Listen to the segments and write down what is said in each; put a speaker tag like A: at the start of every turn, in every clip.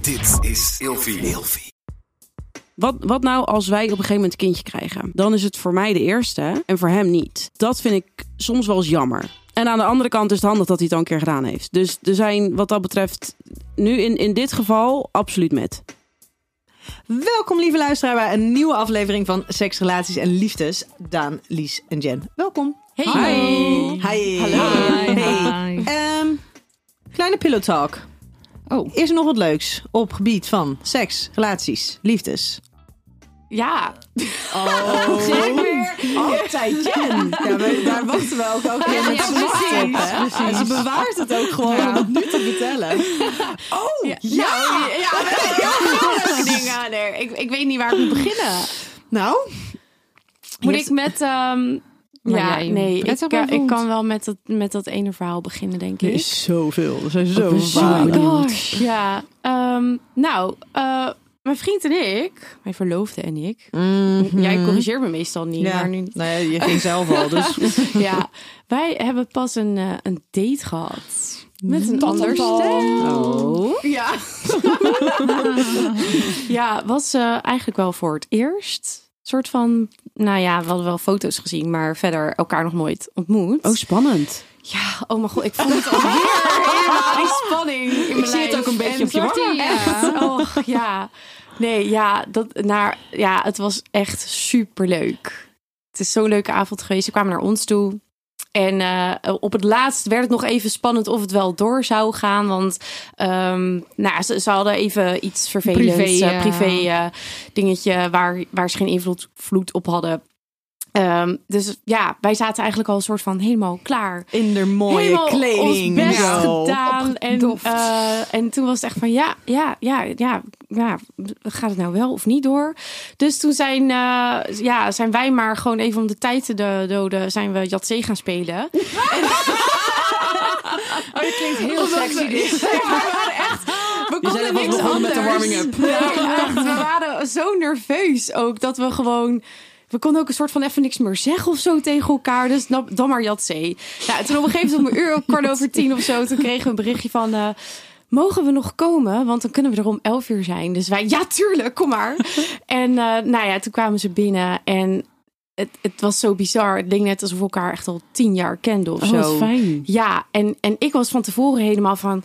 A: Dit is Ilfie.
B: Wat, wat nou als wij op een gegeven moment een kindje krijgen? Dan is het voor mij de eerste en voor hem niet. Dat vind ik soms wel eens jammer. En aan de andere kant is het handig dat hij het al een keer gedaan heeft. Dus er zijn wat dat betreft nu in, in dit geval absoluut met.
C: Welkom, lieve luisteraar, bij een nieuwe aflevering van Seks, Relaties en Liefdes. Daan, Lies en Jen. Welkom.
D: Hey.
C: Hi.
D: Hallo. Hi.
C: Hey.
D: Hi.
C: Ehm, kleine pillow talk.
D: Oh,
C: Is er nog wat leuks op gebied van seks, relaties, liefdes?
D: ja.
C: Oh. Altijd Jen. Ja, we- daar wachten we ook elke keer
D: Ja,
C: met
D: ja,
C: z'n allen op.
D: precies,
C: hè? En ze bewaart het ook gewoon om het nu te vertellen. Oh,
D: Ja, ja. ja, we hebben heel veel leuke dingen aan er. Ik, ik weet niet waar ik moet beginnen.
C: Nou,
D: Moet
C: Je
D: ik met... ehm,
E: Maar
D: ja,
E: jij,
D: nee,
E: het
D: ik,
E: ook maar
D: kan- ik
E: voelt.
D: kan wel met dat, met dat ene verhaal beginnen, denk
C: er
D: ik.
C: is zoveel. Er zijn zoveel
D: Oh my
C: verhalen.
D: gosh. Ja. Ehm, nou, eh, mijn vriend en ik, mijn verloofde en ik. Jij corrigeert me meestal niet, maar nu
C: Nee, je ging zelf al, dus
D: ja, wij hebben pas een, eh, een date gehad. Met een Oh. ander
C: dan.
D: stel. Ja. ja, was eh, eigenlijk wel voor het eerst. soort van, nou ja, we hadden wel foto's gezien, maar verder elkaar nog nooit ontmoet.
B: Oh, spannend.
D: ja, oh mijn god, ik voel het alweer. Helemaal die spanning in mijn
E: zie het
D: lijf.
E: ook een beetje
D: En
E: op je
D: wordt die
E: wangen.
D: echt, och, ja. Nee, ja, dat, naar, ja, het was echt superleuk. Het is zo'n leuke avond geweest. Ze kwamen naar ons toe. En eh, op het laatst werd het nog even spannend of het wel door zou gaan. Want ehm, nou, ze, ze hadden even iets vervelends.
E: Privé,
D: eh,
E: ja.
D: privé eh, dingetje waar, waar ze geen invloed vloed op hadden. Ehm, dus ja, wij zaten eigenlijk al een soort van helemaal klaar
C: in de mooie
D: helemaal
C: kleding. Nou.
D: ons best
C: zo.
D: gedaan. En,
E: opgedoft.
D: eh, en toen was het echt van ja, ja, ja, ja, ja, gaat het nou wel of niet door? Dus toen zijn, eh, ja, zijn wij maar gewoon even om de tijd te do- doden, zijn we Jatzee gaan spelen.
E: Oh, dat klinkt heel sexy. dus. dit.
D: We
C: Je zijn alvast begonnen met de warming-up.
D: Nee, echt, we waren zo nerveus ook dat we gewoon. We konden ook een soort van even niks meer zeggen of zo tegen elkaar. Dus nam- dan maar Jatzee. Nou, toen op een gegeven moment om een uur, kwart over tien of zo, toen kregen we een berichtje van. eh, Mogen we nog komen? Want dan kunnen we er om elf uur zijn. Dus wij, ja, tuurlijk, kom maar. En eh, nou ja, toen kwamen ze binnen. En het, het was zo bizar. Het leek net alsof we elkaar echt al tien jaar kenden
C: Oh,
D: of zo.
B: fijn.
D: Ja, en, en ik was van tevoren helemaal van.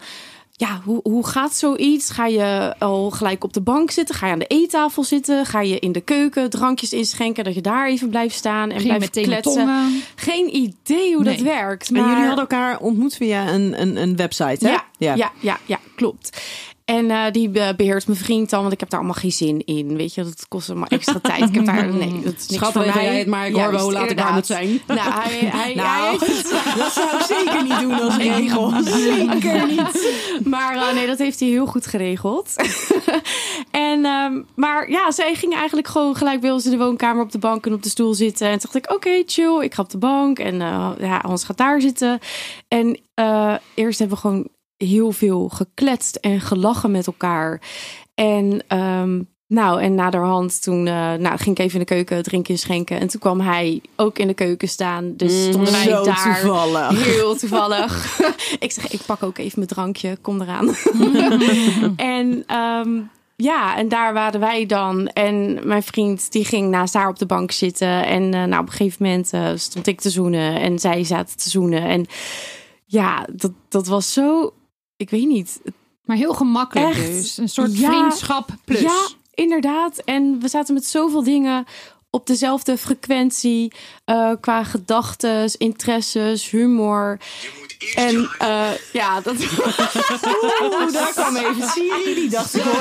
D: Ja, hoe, hoe gaat zoiets? Ga je al gelijk op de bank zitten? Ga je aan de eettafel zitten? Ga je in de keuken drankjes inschenken? Dat je daar even blijft staan en
E: Ging je
D: blijft
E: meteen de
D: kletsen.
E: tongen.
D: Geen idee hoe dat
E: Nee.
D: werkt.
C: En
D: maar-
C: jullie hadden elkaar ontmoet via een, een, een website, hè?
D: ja, ja. ja, ja, klopt. En eh, die be- beheert mijn vriend dan, want ik heb daar allemaal geen zin in. Weet je, dat kost allemaal extra tijd. Ik heb daar, nee, dat is niks
B: Schat,
D: voor
B: regel
D: mij.
B: jij het maar. Ik hoor wel
D: Juist,
B: hoe laat ik
D: inderdaad.
B: daar moet zijn.
D: Nou, hij, hij, hij
C: Nou,
D: heeft
C: dat zou ik zeker niet doen als regel. Zeker niet.
D: Maar eh, nee, dat heeft hij heel goed geregeld. en, ehm, maar ja, zij ging eigenlijk gewoon gelijk bij ons in de woonkamer op de bank en op de stoel zitten. En toen dacht ik, oké, chill, ik ga op de bank. En eh, ja, Hans gaat daar zitten. En eh, eerst hebben we gewoon heel veel gekletst en gelachen met elkaar. En ehm, nou, en naderhand toen eh, nou, ging ik even in de keuken drinken schenken. En toen kwam hij ook in de keuken staan. Dus stonden wij
C: Mm, Zo
D: daar.
C: toevallig.
D: Heel toevallig. ik zeg, ik pak ook even mijn drankje, kom eraan. en ehm, ja, en daar waren wij dan. En mijn vriend, die ging naast haar op de bank zitten. En eh, nou, op een gegeven moment eh, stond ik te zoenen en zij zaten te zoenen. En ja, dat, dat was zo, ik weet niet.
E: Maar heel gemakkelijk
D: Echt?
E: dus. Een soort
D: Ja.
E: vriendschap plus.
D: Ja, inderdaad. En we zaten met zoveel dingen op dezelfde frequentie. eh, qua gedachtes, interesses, humor. En eh, ja, dat... Oeh, daar kwam even Siri. Die dacht ik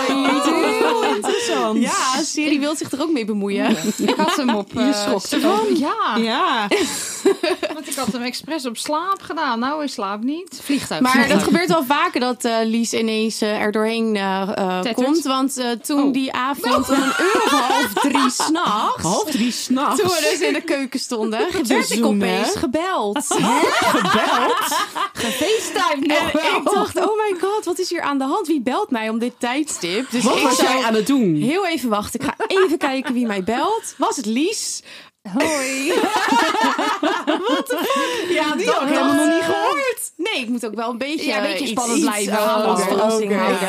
C: Heel interessant.
D: Ja, Siri wil zich er ook mee bemoeien.
E: Ik had hem op...
C: Je
E: eh,
C: schokt
E: slaap. Ja,
C: Ja.
E: want ik had hem expres op slaap gedaan. Nou, hij slaapt niet. Vliegtuig.
D: Maar dat
E: vliegtuig.
D: gebeurt wel vaker dat eh, Lies ineens eh, er doorheen eh, eh,
E: Tettert.
D: komt. Want eh, toen
E: Oh.
D: die avond om een uur of half drie s'nachts...
B: Half drie s'nachts.
D: Toen we dus in de keuken stonden, werd ik
C: zoenen.
D: opeens gebeld.
E: FaceTime
D: En
E: nog wel.
D: ik dacht, oh my god, wat is hier aan de hand? Wie belt mij om dit tijdstip? Dus
B: Wat
D: ik
B: was
D: zou
B: jij aan het doen?
D: heel even wachten. Ik ga even kijken wie mij belt. Was het Lies?
E: Hoi.
D: Ja, die
C: had ik helemaal nog niet
D: gehoord. Nee, ik moet ook wel een beetje,
E: eh, Ja, een beetje
D: eh, iets-
E: spannend
D: iets,
E: blijven.
D: eh, als
E: Oké,
D: verrassing
C: oké.
D: houden.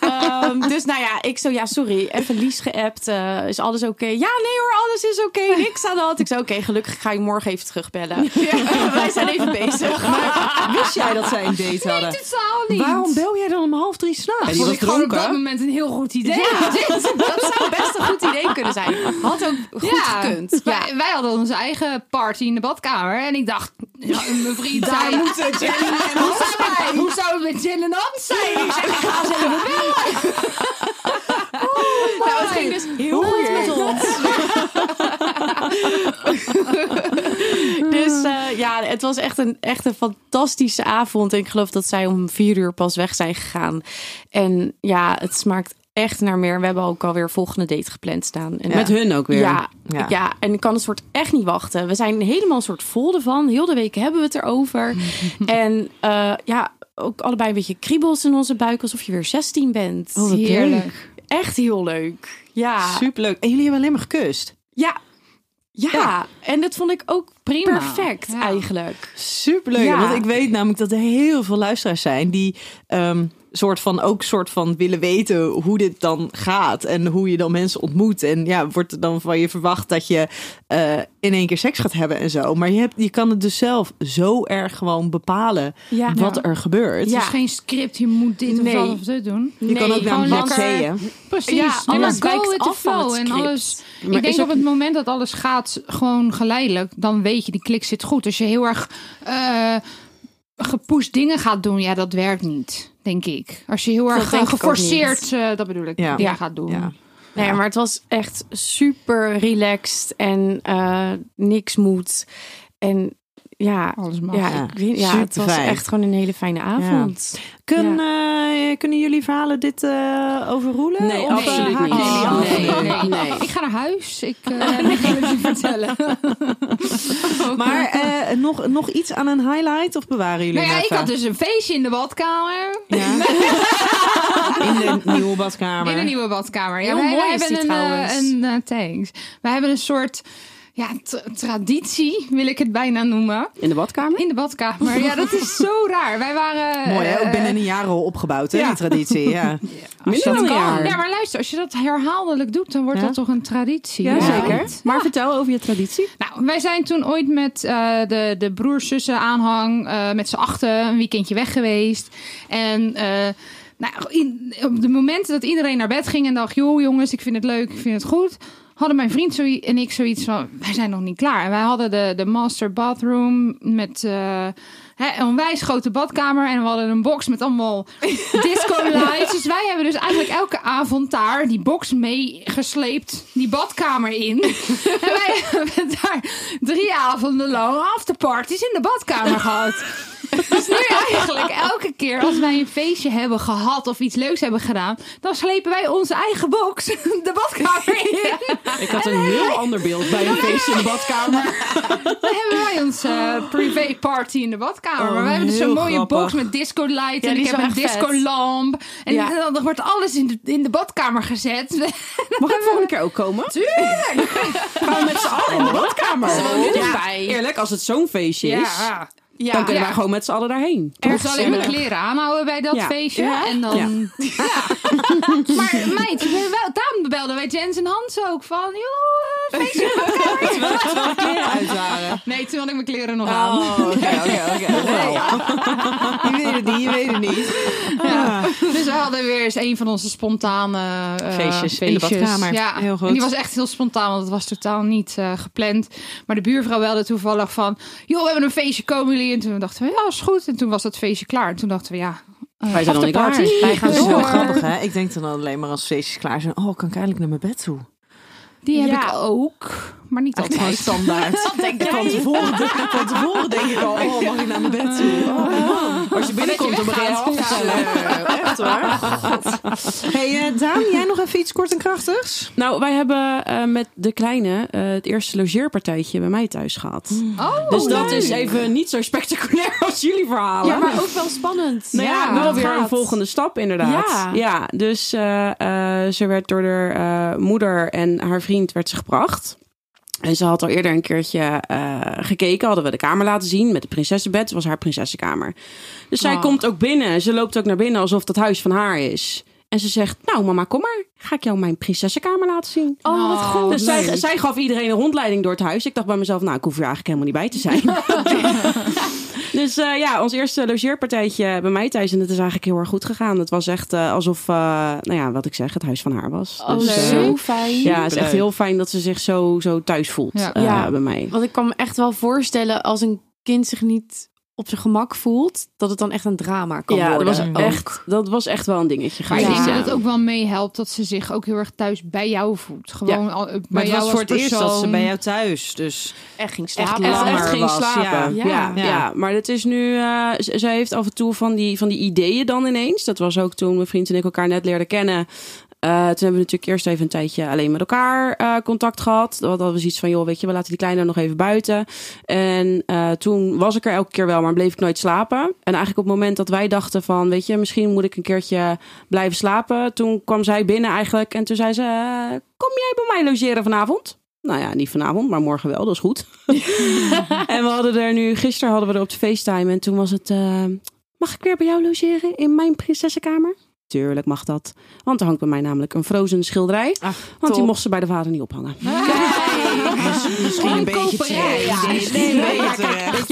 D: Ehm, dus nou ja, ik zo, ja, sorry, even Lies geappt. eh, is alles oké? Ja, nee hoor, alles is oké. Niks aan de hand. Ik zei, oké, gelukkig ga je morgen even terugbellen. Wij zijn even bezig.
C: Wist jij dat zij een date hadden?
E: Totaal niet.
C: Waarom bel jij dan om half drie
E: Dat
C: s'nachts?
E: vond
C: nachts?
E: ik gewoon op dat moment een heel goed idee.
D: Ja, dit- dat zou best een goed idee kunnen zijn. Had ook goed
E: Ja.
D: gekund. Ja.
E: Wij, wij hadden onze eigen party in de badkamer. En ik dacht, nou, mijn vriend zei... hoe, zou het, hoe zou het met Jill en Hans zijn? Ik zeg, ga ze even bellen.
D: Nou, het ging dus heel goed met ons. dus eh, ja, het was echt een, echt een fantastische avond. En ik geloof dat zij om vier uur pas weg zijn gegaan. En ja, het smaakt echt naar meer. We hebben ook alweer een volgende date gepland staan. En
B: Met hun ook weer.
D: Ja,
C: Ja.
D: ja. en ik kan het soort echt niet wachten. We zijn helemaal een soort vol ervan. Heel de week hebben we het erover. en eh, ja, ook allebei een beetje kriebels in onze buik. Alsof je weer 16 bent.
C: wat
E: Heerlijk.
C: leuk.
D: Echt heel leuk. Ja.
C: Superleuk. En jullie hebben alleen maar gekust.
D: Ja. ja.
C: Ja.
D: en dat vond ik ook prima. Perfect
E: Ja.
D: eigenlijk.
C: Superleuk.
D: Ja.
C: Want ik weet namelijk dat er heel veel luisteraars zijn die ehm, soort van ook soort van willen weten hoe dit dan gaat en hoe je dan mensen ontmoet. En ja, wordt er dan van je verwacht dat je eh, in één keer seks gaat hebben en zo. Maar je, hebt, je kan het dus zelf zo erg gewoon bepalen
D: Ja.
C: wat
D: Ja.
C: er gebeurt.
E: Het
D: Ja.
E: is geen script, je moet dit
D: Nee.
E: of dat of dat doen.
C: Je kan ook naar een
E: gewoon
C: blad
E: lekker-
C: zeeën.
E: Precies.
D: Ja,
E: Nee,
D: alles
E: maar go
D: wijkt
E: with the
D: af van het
E: flow en
D: script.
E: alles.
B: Maar
E: ik denk
B: is ook-
E: op het moment dat alles gaat gewoon geleidelijk, dan weet je, die klik zit goed. Als je heel erg eh gepusht dingen gaat doen, ja, dat werkt niet, denk ik. Als je heel erg
D: denk
E: eh,
D: ik ook
E: geforceerd, eh, dat bedoel ik,
C: Ja.
E: dingen
D: Ja.
E: gaat doen.
C: Ja.
D: Nee, maar het was echt super relaxed en eh, niks moet. En ja,
E: Alles mag.
D: ja,
C: Ja,
D: ik weet- ja het was
C: superfijn.
D: echt gewoon een hele fijne avond.
C: Kun, eh, kunnen jullie verhalen dit eh overroelen?
B: Nee,
C: Of, eh,
B: absoluut
C: haken
B: niet.
C: jullie af?
B: Nee,
E: nee,
B: nee,
E: nee,
B: nee.
E: Ik ga naar huis. Ik eh, ik ga het je vertellen.
C: Maar eh, nog, nog iets aan een highlight of bewaren jullie
E: Nou ja,
C: het
E: ik
C: even?
E: had dus een feestje in de badkamer.
C: Ja. In de nieuwe badkamer.
E: In de nieuwe badkamer. Ja,
D: Heel
E: wij, wij
D: mooi is
E: hebben
D: die
E: een,
D: trouwens.
E: eh, Een, eh, thanks. Wij hebben een soort ja, t- traditie, wil ik het bijna noemen.
B: In de badkamer?
E: In de badkamer. Ja, dat is zo raar. Wij waren.
C: Mooi, hè?
E: eh,
C: Ook binnen een jaar al opgebouwd, hè?
E: ja.
C: Die traditie. Ja.
B: Minder
E: dat
B: dan een
E: kan.
B: jaar.
E: Ja, maar luister, als je dat herhaaldelijk doet, dan wordt
C: Ja.
E: dat toch een traditie.
B: Ja,
E: Ja.
B: zeker. Maar vertel over je traditie.
E: Nou, wij zijn toen ooit met eh, de, de broers, zussen, aanhang, eh, met z'n achten een weekendje weg geweest. En eh, nou, in- op de momenten dat iedereen naar bed ging en dacht, joh jongens, ik vind het leuk, ik vind het goed. Hadden mijn vriend zoie- en ik zoiets van, wij zijn nog niet klaar. En wij hadden de, de master bathroom met eh, hè, een onwijs grote badkamer. En we hadden een box met allemaal disco lights. Dus wij hebben dus eigenlijk elke avond daar die box meegesleept, die badkamer in. En wij hebben daar drie avonden lang afterparties in de badkamer gehad. Dus nu eigenlijk elke keer als wij een feestje hebben gehad of iets leuks hebben gedaan, dan slepen wij onze eigen box de badkamer in.
B: Ik had een heel ander beeld bij een feestje in de badkamer.
E: Dan hebben wij onze eh, privé party in de badkamer.
C: Oh,
E: maar wij hebben dus
C: heel
E: zo'n mooie
C: grappig.
E: box met disco light.
D: Ja,
E: en
D: die
E: ik
D: is
E: heb een
D: wel echt vet.
E: disco lamp. En
D: Ja.
E: dan dan wordt alles in de, in de badkamer gezet.
B: Mag
C: Eh,
B: ik volgende keer ook komen? Tuurlijk! Gaan we met z'n allen in de
C: Oh.
B: badkamer?
D: Ja.
B: Eerlijk, als het zo'n feestje is,
D: Ja.
B: dan kunnen
E: Ja.
B: wij gewoon met z'n allen daarheen.
E: Ik moest alleen mijn
D: eerlijk.
E: kleren aanhouden bij dat
B: Ja.
E: feestje. En dan... Ja. maar meid, we- wel, daarom belden wij Jens en Hans ook van... Joh, eh, feestje. Nee, toen had ik mijn kleren nog aan.
B: Oh,
C: oké, oké, oké. Wel. Je weet het niet, je weet het niet.
E: Ja. Dus we hadden weer eens een van onze spontane eh,
C: Feestjes in de badkamer.
E: Ja,
C: Heel goed.
E: En die was echt heel spontaan, want het was totaal niet eh, gepland. Maar de buurvrouw belde toevallig van: joh, we hebben een feestje, komen jullie? En toen dachten we: ja, is goed. En toen was dat feestje klaar. En toen dachten we: ja, eh,
B: Wij zijn dan niet klaar.
D: Wij gaan
C: Dat is
E: Door.
C: wel
D: zo.
C: grappig, hè? Ik denk dan alleen maar als feestjes klaar zijn. Oh, kan ik eindelijk naar mijn bed toe?
E: die heb
D: Ja.
E: ik ook, maar niet
C: Echt gewoon
E: altijd.
C: standaard.
D: Wat denk
C: Van
D: jij?
C: tevoren, van tevoren denk ik al, oh, mag ik naar mijn bed toe? Oh, man. Als je binnenkomt, dan begin je af te tellen. Echt waar? Hey, eh, Daan, jij nog even iets kort en krachtigs?
B: Nou, wij hebben eh, met de kleine eh, het eerste logeerpartijtje bij mij thuis gehad.
E: Oh,
B: dus dat is even niet zo spectaculair als jullie verhalen.
D: Ja, maar ook wel spannend.
B: Nou ja,
E: Ja,
B: wel
E: dat
B: weer een
D: gaat.
B: volgende stap inderdaad.
D: Ja.
B: dus eh, eh, ze werd door haar eh, moeder en haar vriend werd ze gebracht. En ze had al eerder een keertje eh, gekeken. Hadden we de kamer laten zien met het prinsessenbed. Het was haar prinsessenkamer. Dus zij
E: Oh.
B: komt ook binnen. Ze loopt ook naar binnen alsof dat huis van haar is. En ze zegt, nou mama, kom maar. Ga ik jou mijn prinsessenkamer laten zien.
D: Oh, wat
E: Oh,
D: goed.
E: wat
B: Dus zij, zij gaf iedereen een rondleiding door het huis. Ik dacht bij mezelf, nou, ik hoef er eigenlijk helemaal niet bij te zijn. dus eh, ja, ons eerste logeerpartijtje bij mij thuis. En dat is eigenlijk heel erg goed gegaan. Het was echt eh, alsof, eh, nou ja, wat ik zeg, het huis van haar was.
D: Oh,
B: dus, eh,
D: zo fijn.
B: ja, het is echt
C: Superleuk.
B: heel fijn dat ze zich zo, zo thuis voelt
E: Ja.
B: eh,
D: Ja.
B: bij mij.
D: Want ik kan me echt wel voorstellen als een kind zich niet op zijn gemak voelt, dat het dan echt een drama kan
B: ja, dat
D: worden.
B: was,
D: Ook.
B: echt, dat was echt wel een dingetje
E: Maar
B: geweest.
E: ik
D: Ja.
E: denk dat
B: ja.
E: het ook wel meehelpt dat ze zich ook heel erg thuis bij jou voelt. Gewoon al, eh, bij
C: Maar het
E: jou
C: was
E: als
C: voor het eerst dat ze
E: persoon.
C: bij jou thuis. Dus
D: echt ging
C: echt
D: slapen.
B: echt,
C: langer
B: echt ging
C: was,
B: slapen. Ja.
D: ja.
B: Ja,
C: Ja.
B: maar het is nu. eh, z- zij heeft af en toe van die, van die ideeën dan ineens. Dat was ook toen mijn vriend en ik elkaar net leerden kennen. Eh, toen hebben we natuurlijk eerst even een tijdje alleen met elkaar eh, contact gehad. Dat hadden we zoiets van, joh, weet je, we laten die kleine nog even buiten. En eh, toen was ik er elke keer wel, maar bleef ik nooit slapen. En eigenlijk op het moment dat wij dachten van, weet je, misschien moet ik een keertje blijven slapen. Toen kwam zij binnen eigenlijk en toen zei ze, eh, kom jij bij mij logeren vanavond? Nou ja, niet vanavond, maar morgen wel, dat is goed. en we hadden er nu, gisteren hadden we er op de FaceTime en toen was het, eh, mag ik weer bij jou logeren in mijn prinsessenkamer? Tuurlijk mag dat. Want er hangt bij mij namelijk een frozen schilderij.
C: Ach,
B: want die
D: top.
B: mocht ze bij de vader niet ophangen.
C: misschien een beetje
E: koperij,
C: terecht.
E: ja.
C: Misschien een beetje terecht.
B: Weet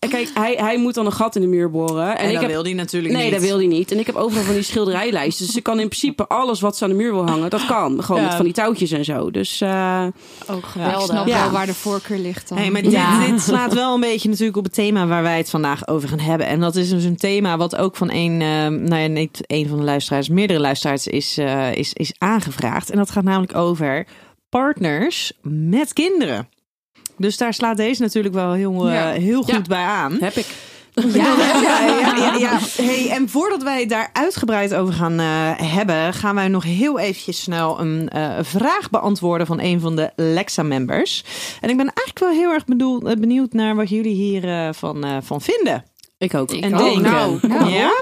B: je, kijk, hij, hij moet dan een gat in de muur boren. En,
C: En,
B: ik
C: dat
B: heb,
C: wil die natuurlijk
B: nee,
C: niet.
B: dat wil hij niet. En ik heb overal van die schilderijlijsten. Dus ze kan in principe alles wat ze aan de muur wil hangen, dat kan. Gewoon
C: Ja.
B: met van die touwtjes en zo. Dus eh,
D: Ook
E: Ja, ik
D: geweldig.
E: snap
B: Ja.
E: wel waar de voorkeur ligt dan.
C: Hey, maar dit,
D: Ja.
C: dit slaat wel een beetje natuurlijk op het thema waar wij het vandaag over gaan hebben. En dat is dus een thema wat ook van een, eh, nou ja, niet een van de luisteraars, meerdere luisteraars is, eh, is, is aangevraagd. En dat gaat namelijk over partners met kinderen. Dus daar slaat deze natuurlijk wel heel, eh,
E: Ja.
C: heel goed
B: Ja.
C: bij aan.
B: heb ik.
C: Ja, ja, ja, ja, ja. Hey, en voordat wij het daar uitgebreid over gaan eh, hebben, gaan wij nog heel eventjes snel een eh, vraag beantwoorden van een van de Lexa-members. En ik ben eigenlijk wel heel erg bedoel, eh, benieuwd naar wat jullie hiervan van eh, van vinden.
B: Ik ook.
C: en
E: ook.
C: denken.
E: Nou, nou.
C: ja?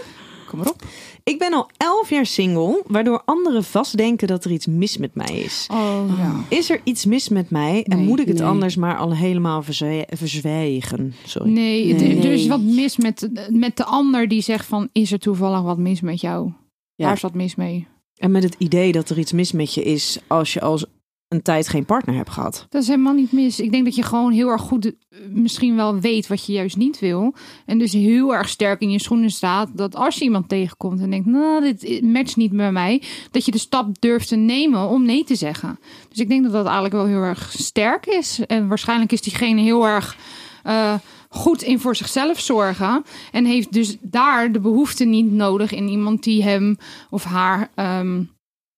E: kom maar op.
C: Ik ben al elf jaar single, waardoor anderen vastdenken dat er iets mis met mij is.
E: Oh, ja.
C: Is er iets mis met mij en
E: Nee,
C: moet ik het
B: nee.
C: anders maar al helemaal verzwe- verzwijgen? Sorry.
E: Nee, er- er is
B: Nee.
E: wat mis met, met de ander die zegt van... is er toevallig wat mis met jou?
B: Ja.
E: Daar is wat mis mee.
C: En met het idee dat er iets mis met je is als je al een tijd geen partner hebt gehad.
E: Dat is helemaal niet mis. Ik denk dat je gewoon heel erg goed eh, misschien wel weet wat je juist niet wil. En dus heel erg sterk in je schoenen staat dat als je iemand tegenkomt en denkt, nou, dit matcht niet bij mij, dat je de stap durft te nemen om nee te zeggen. Dus ik denk dat dat eigenlijk wel heel erg sterk is. En waarschijnlijk is diegene heel erg eh, goed in voor zichzelf zorgen. En heeft dus daar de behoefte niet nodig in iemand die hem of haar. ehm,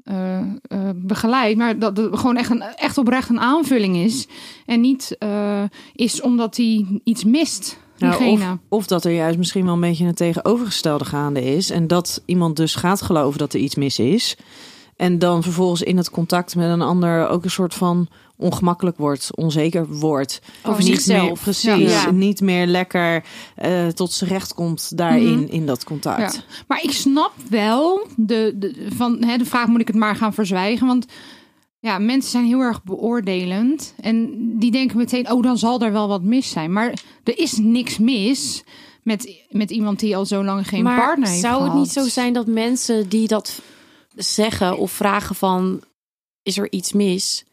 E: eh, eh, begeleid. Maar dat het gewoon echt, een, echt oprecht een aanvulling is. En niet eh, is omdat hij iets mist.
C: Nou,
E: diegene.
C: of, of dat er juist misschien wel een beetje een tegenovergestelde gaande is. En dat iemand dus gaat geloven dat er iets mis is. En dan vervolgens in het contact met een ander ook een soort van ongemakkelijk wordt, onzeker wordt.
D: Over
C: Niet
D: zichzelf.
C: meer- precies.
E: Ja.
C: Niet meer lekker eh, tot z'n recht komt daarin,
E: Mhm.
C: in dat contact.
E: Ja. Maar ik snap wel de, de, van, hè, de vraag: moet ik het maar gaan verzwijgen? Want ja, mensen zijn heel erg beoordelend. En die denken meteen: oh, dan zal er wel wat mis zijn. Maar er is niks mis met, met iemand die al zo lang geen
D: maar
E: partner heeft.
D: zou het
E: gehad.
D: niet zo zijn dat mensen die dat zeggen of vragen van is er iets mis?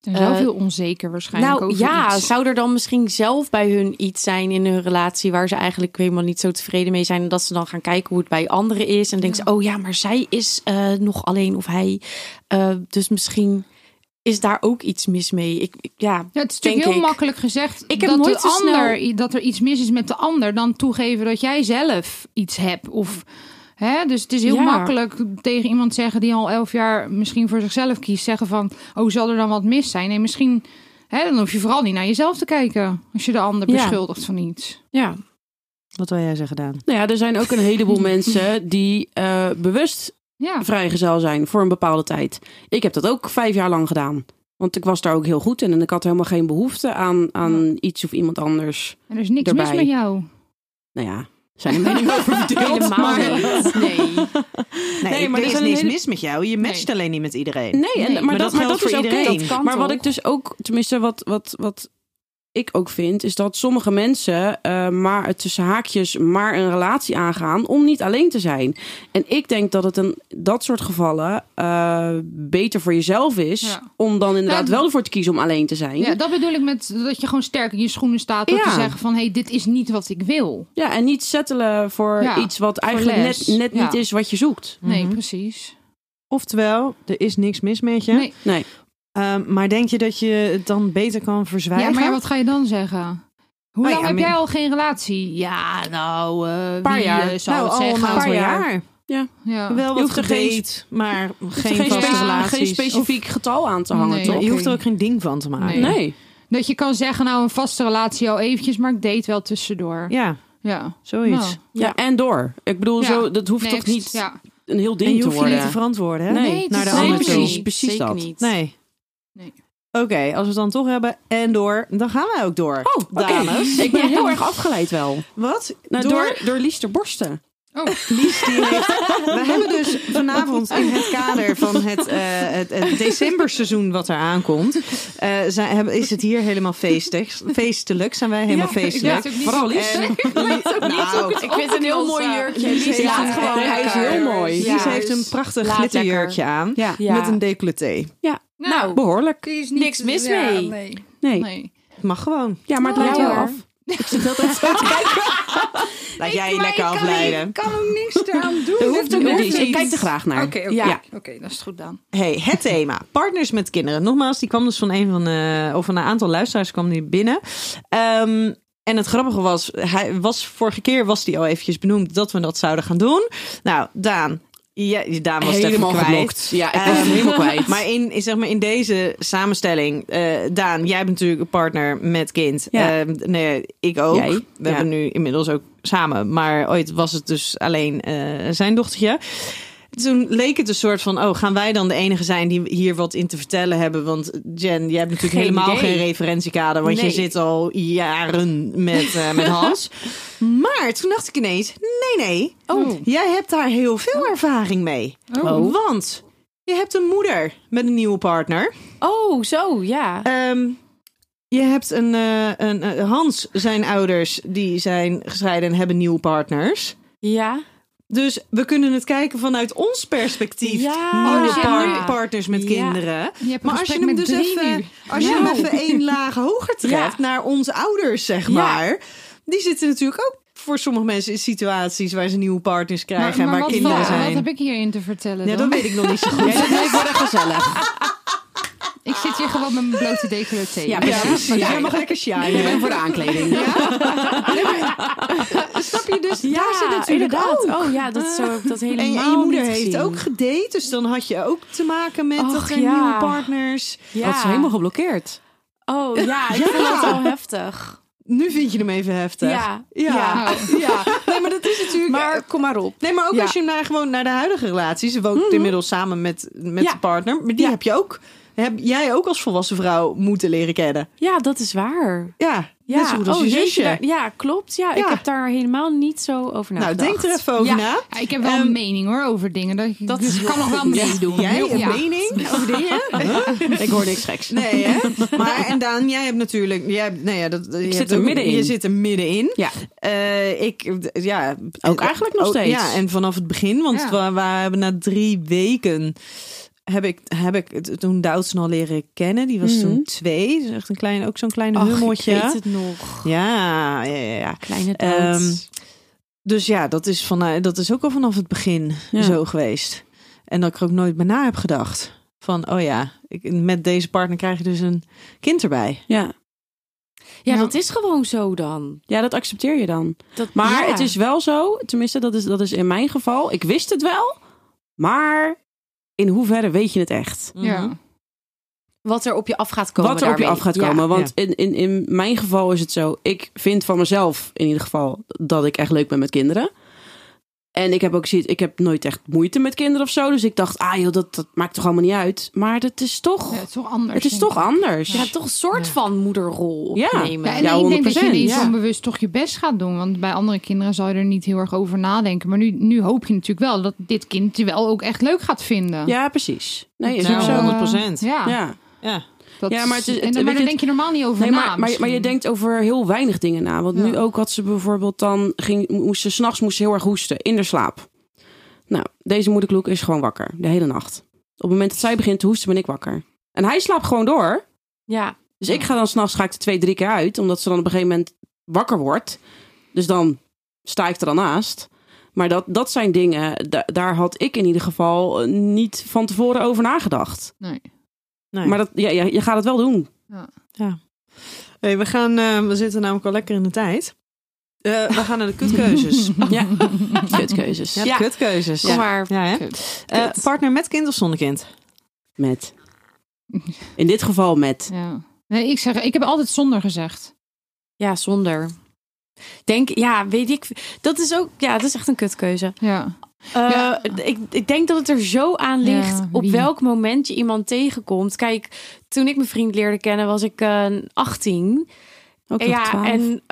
E: Er is wel
D: eh,
E: veel onzeker waarschijnlijk.
D: Nou
E: over
D: ja,
E: iets.
D: zou er dan misschien zelf bij hun iets zijn in hun relatie waar ze eigenlijk helemaal niet zo tevreden mee zijn en dat ze dan gaan kijken hoe het bij anderen is en denken ze oh ja, maar zij is eh, nog alleen of hij, Eh, dus misschien is daar ook iets mis mee. Ik, ik- ja,
E: Ja, het is
D: Denk
E: natuurlijk heel
D: ik.
E: makkelijk gezegd
D: Ik heb
E: dat,
D: nooit
E: de
D: zo snel-
E: ander, dat er iets mis is met de ander. Dan toegeven dat jij zelf iets hebt. Of, hè? Dus het is heel
D: Ja.
E: makkelijk tegen iemand zeggen die al elf jaar misschien voor zichzelf kiest. Zeggen van, oh zal er dan wat mis zijn? Nee, misschien... Hè, dan hoef je vooral niet naar jezelf te kijken. Als je de ander
D: Ja.
E: beschuldigt van iets.
D: ja.
C: Wat wil jij zeggen, Daan?
B: Nou ja, er zijn ook een heleboel mensen die eh, bewust
E: Ja,
B: vrijgezel zijn voor een bepaalde tijd. Ik heb dat ook vijf jaar lang gedaan. Want ik was daar ook heel goed in en ik had helemaal geen behoefte aan, aan iets of iemand anders.
E: en er is niks mis
B: Daarbij.
E: met jou.
B: Nou ja, zijn er meningen over verdeeld.
D: Helemaal
B: Maar...
D: niet. Nee.
C: Nee,
B: Nee, maar
C: maar er
B: er
C: is
B: zijn
C: niks
B: hele-
C: mis met jou. Je matcht alleen niet met iedereen.
B: Nee, en,
E: Nee,
B: maar,
E: maar
B: dat,
C: dat
B: maar
C: geldt
B: dat is
C: voor
B: oké.
C: iedereen.
D: Dat kan
B: Maar wat
D: toch?
B: ik dus ook, tenminste wat, wat, wat ik ook vind, is dat sommige mensen eh, maar het tussen haakjes maar een relatie aangaan om niet alleen te zijn. En ik denk dat het een dat soort gevallen eh, beter voor jezelf is
E: Ja.
B: om dan inderdaad
E: het-
B: wel ervoor te kiezen om alleen te zijn.
E: Ja,
B: Ja,
E: dat bedoel ik met dat je gewoon sterk in je schoenen staat door
B: Ja.
E: te zeggen van hé, hey, dit is niet wat ik wil.
B: en niet settelen voor
E: Ja,
B: iets wat eigenlijk
E: les.
B: net, net niet
E: Ja.
B: is wat je zoekt.
E: Nee,
C: Mhm.
E: precies.
C: Oftewel, er is niks mis met je.
E: Nee.
B: Nee.
C: Ehm, maar denk je dat je het dan beter kan
E: Ja,
C: verzwijgen?
E: maar ja, wat ga je dan zeggen? Hoe
B: Nou
C: Oh
E: lang
C: ja,
E: heb
C: maar-
E: jij al geen relatie? Ja, nou, eh
B: Paar
E: wie,
B: jaar.
E: eh, zou
C: nou,
E: het
C: al een
E: zeggen?
C: aantal
B: Paar jaar.
C: jaar.
E: Ja.
C: Wel
B: Je
C: wat
B: hoeft er geen-
C: gedate, maar geen,
B: Geen,
C: vaste
B: spe-
C: relaties.
B: geen specifiek getal aan te hangen,
E: Nee.
B: toch?
C: Je hoeft er ook geen ding van te maken.
E: Nee.
B: Nee.
E: Dat je kan zeggen, nou, een vaste relatie al eventjes, maar ik date wel tussendoor. Ja.
C: Ja, zoiets.
E: Nou.
B: Ja, en door. Ik bedoel,
E: Ja,
B: zo, dat hoeft
E: Next.
B: toch niet
E: Ja.
B: een heel
C: En
B: ding
C: je
B: te
C: hoeft je
B: worden?
C: niet te verantwoorden, hè?
B: Nee,
E: het
C: naar
E: is
C: de ander
E: niet.
C: toe.
B: Precies, precies
D: Zeker
B: dat.
D: niet.
C: Nee.
E: Nee.
C: Oké, als we het dan toch hebben en door, dan gaan wij ook door.
B: Oh, oké.
C: dames.
B: Ik ben heel erg afgeleid wel.
C: Wat?
B: Nou,
C: door?
B: door, door, Lies ter borsten.
E: Oh.
C: Lies die heeft... We hebben dus vanavond in het kader van het, eh het, het decemberseizoen wat er aankomt... eh, zijn, hebben, is het hier helemaal feestig, feestelijk. Zijn wij helemaal feestelijk.
E: ook niet.
B: Vooral Lies.
C: En- nou,
D: Ik vind het een heel mooi jurkje.
C: Lies
D: Lies
C: heeft
D: laat
C: een-
D: gewoon
B: hij is
D: lekker.
B: heel mooi.
C: Lies
D: Ja,
C: heeft
D: dus
C: een prachtig
D: laat
C: glitterjurkje aan.
B: Ja.
D: Ja.
C: Met een decolleté.
D: Nou,
B: Behoorlijk.
E: is
D: niet- niks mis ja, mee.
E: Nee.
B: Nee.
C: Het mag gewoon.
B: Ja, maar het lijkt
D: Ja,
B: wel
D: hoor.
B: af. Ik zit altijd te kijken.
C: Laat jij je lekker afleiden.
E: Ik kan ook niks eraan doen.
B: Dat hoeft ook
E: Dat
B: niet. Ik kijk er graag naar.
E: Oké,
B: Ja.
E: oké. Oké, dat is goed dan.
C: Hey, het thema. Partners met kinderen. Nogmaals, die kwam dus van een van de, of van een aantal luisteraars kwam die binnen. Ehm, en het grappige was, hij was vorige keer was die al eventjes benoemd dat we dat zouden gaan doen. Nou, Daan. Ja, Daan was het
B: Helemaal
C: even kwijt.
B: geblokt. Ja, ik was het
C: Ehm,
B: helemaal kwijt.
C: Maar in, zeg maar in deze samenstelling, eh, Daan, jij bent natuurlijk een partner met kind.
B: Ja.
C: Ehm, nee, ik ook.
B: Jij?
C: We
B: Ja.
C: hebben nu inmiddels ook samen, maar ooit was het dus alleen eh, zijn dochtertje. Toen leek het een soort van, oh, gaan wij dan de enige zijn die hier wat in te vertellen hebben? Want Jen, jij hebt natuurlijk
D: Geen
C: helemaal
D: idee.
C: geen referentiekader, want je
D: Nee.
C: zit al jaren met, eh, met Hans. maar toen dacht ik ineens, nee, nee,
E: Oh.
C: jij hebt daar heel veel ervaring mee.
B: Oh.
C: Want je hebt een moeder met een nieuwe partner.
D: Oh, zo, ja.
C: Ehm, je hebt een, eh, een eh, Hans, zijn ouders, die zijn gescheiden en hebben nieuwe partners.
D: Ja.
C: Dus we kunnen het kijken vanuit ons perspectief.
D: Ja.
C: Nieuwe
E: Oh, ja.
C: par- partners met
D: Ja.
C: kinderen.
E: Je hebt een
C: Maar als je
E: gesprek
C: hem
E: met
C: dus
E: drie
C: even,
E: nu.
C: als je
E: Ja.
C: hem even één laag hoger trekt naar onze ouders, zeg
D: Ja.
C: maar. Die zitten natuurlijk ook voor sommige mensen in situaties waar ze nieuwe partners krijgen en waar
E: wat,
C: kinderen
E: wat,
C: zijn.
E: wat heb ik hierin te vertellen
C: ja,
E: dan?
C: dat weet ik nog niet zo goed.
B: Ik word er gezellig.
E: Ik zit hier gewoon met mijn blote decolleté.
B: Ja,
C: Ja, precies. Jij mag lekker
B: Ik
C: shinen.
B: ben voor de aankleding.
C: Snap je dus?
D: Ja,
C: daar zit natuurlijk
D: inderdaad.
C: ook.
D: Oh ja, dat zo heb ik dat helemaal
C: En, en je moeder
D: niet
C: heeft
D: gezien.
C: ook gedate, dus dan had je ook te maken met
D: Och,
C: dat er
D: ja.
C: nieuwe partners.
D: Ja.
B: Dat is helemaal geblokkeerd.
D: Oh ja, ik
C: Ja.
D: vond dat wel heftig.
C: Nu vind je hem even heftig.
D: Ja.
C: ja.
E: Oh.
C: Ja. Nee, maar dat is natuurlijk.
D: Maar kom maar op.
C: Nee, maar ook
D: Ja. Mhm.
C: als je naar, gewoon naar de huidige relatie. Ze woont inmiddels samen met, met
D: Ja.
C: de partner. Maar die
D: Ja.
C: heb je ook. Heb jij ook als volwassen vrouw moeten leren kennen?
D: Ja, dat is waar.
C: Ja,
D: Ja.
C: net zo goed als
D: oh,
C: je
D: jeetje,
C: zusje.
D: daar- ja, klopt. Ja,
C: Ja.
D: ik heb daar helemaal niet zo over
C: nou,
D: nagedacht.
C: denk er even over
D: Ja.
C: na.
E: Ja, ik heb wel
C: Ehm,
E: een mening hoor over dingen. Dat, ik-
D: dat
E: dus
D: is
E: ik kan nog wel meedoen.
C: Jij een
E: Ja.
C: mening over dingen?
B: Ik hoor niks geks.
C: Nee, hè? Maar en Daan, jij hebt natuurlijk... Jij, hebt- nou ja, dat, je hebt
B: zit er
C: ook-
B: middenin.
C: Je zit er middenin.
B: Ja.
C: Eh, ik, d- ja.
B: Ook eigenlijk nog
C: Oh,
B: steeds.
C: Ja, en vanaf het begin, want
E: Ja.
C: we, we hebben na drie weken. Heb ik, heb ik het- toen Doutzen al leren kennen. Die was
B: Mhm.
C: toen twee. Dus echt een klein, ook zo'n klein
D: Ach,
C: hummeltje.
D: ik weet het nog.
C: Ja, ja, ja, ja.
D: Kleine
C: Ehm,
D: dans.
C: Dus ja, dat is, van, dat is ook al vanaf het begin
B: Ja.
C: zo geweest. En dat ik er ook nooit bij na heb gedacht. Van, oh ja, ik, met deze partner krijg je dus een kind erbij.
B: Ja.
D: ja,
E: ja.
D: dat is gewoon zo dan.
B: ja, dat accepteer je dan.
D: Dat,
B: Maar
D: ja.
B: het is wel zo, tenminste, dat is, dat is in mijn geval. Ik wist het wel, maar in hoeverre weet je het echt?
E: Ja.
D: wat er op je af gaat komen.
B: Wat er op je
D: daarmee.
B: af gaat
D: Ja.
B: komen. Want in, in, in mijn geval is het zo. Ik vind van mezelf in ieder geval dat ik echt leuk ben met kinderen. En ik heb ook zoiets, ik heb nooit echt moeite met kinderen of zo. Dus ik dacht, ah joh, dat, dat maakt toch allemaal niet uit. Maar dat is toch,
E: Ja, het is toch anders.
B: het is
E: denk
B: toch
E: ik.
B: anders.
D: Je gaat toch een soort van moederrol
B: Ja.
E: Ja,
D: nemen.
E: en
B: Ja,
E: ik denk dat je
B: 100%,
E: ineens
B: ja.
E: onbewust toch je best gaat doen. Want bij andere kinderen zou je er niet heel erg over nadenken. Maar nu, nu hoop je natuurlijk wel dat dit kind je wel ook echt leuk gaat vinden. eh,
B: Ja, precies. Nee, is
C: Nou,
B: ook zo.
C: 100%.
E: Ja.
B: Ja.
C: Ja.
E: Dat
B: Ja, maar het is-
E: en
B: het-
E: dan- maar
B: weet
E: daar
B: je-
E: denk je normaal niet over
B: Nee,
E: na.
B: maar, maar, maar je
E: misschien.
B: denkt over heel weinig dingen na. Want
E: Ja.
B: nu ook had ze bijvoorbeeld dan... Ging, moest ze, s'nachts moest ze heel erg hoesten in de slaap. Nou, deze moederkloek is gewoon wakker. De hele nacht. Op het moment dat zij begint te hoesten, ben ik wakker. En hij slaapt gewoon door.
D: Ja,
B: Dus ik ga dan s'nachts ga ik er twee, drie keer uit. Omdat ze dan op een gegeven moment wakker wordt. Dus dan sta ik er dan naast. Maar dat, dat zijn dingen, da- daar had ik in ieder geval eh, niet van tevoren over nagedacht.
E: Nee.
C: Nee.
B: Maar dat, ja, ja, je gaat het wel doen.
C: Hey, we, gaan, eh, we zitten namelijk al lekker in de tijd. Eh, we gaan naar de kutkeuzes.
B: Ja, kutkeuzes.
C: Ja,
D: Ja.
C: kutkeuzes.
D: kom maar.
C: Ja, hè? Eh, partner met kind of zonder kind?
B: Met. In dit geval met.
E: Ja. Nee, ik zeg, ik heb altijd zonder gezegd.
D: Ja, zonder. Denk, ja, weet ik. Dat is ook, ja, dat is echt een kutkeuze.
E: Ja.
D: Eh,
E: Ja.
D: ik, ik denk dat het er zo aan
E: Ja,
D: ligt op
E: wie?
D: welk moment je iemand tegenkomt. Kijk, toen ik mijn vriend leerde kennen, was ik eh 18.
B: Ook nog
D: ja,
B: 12.
D: en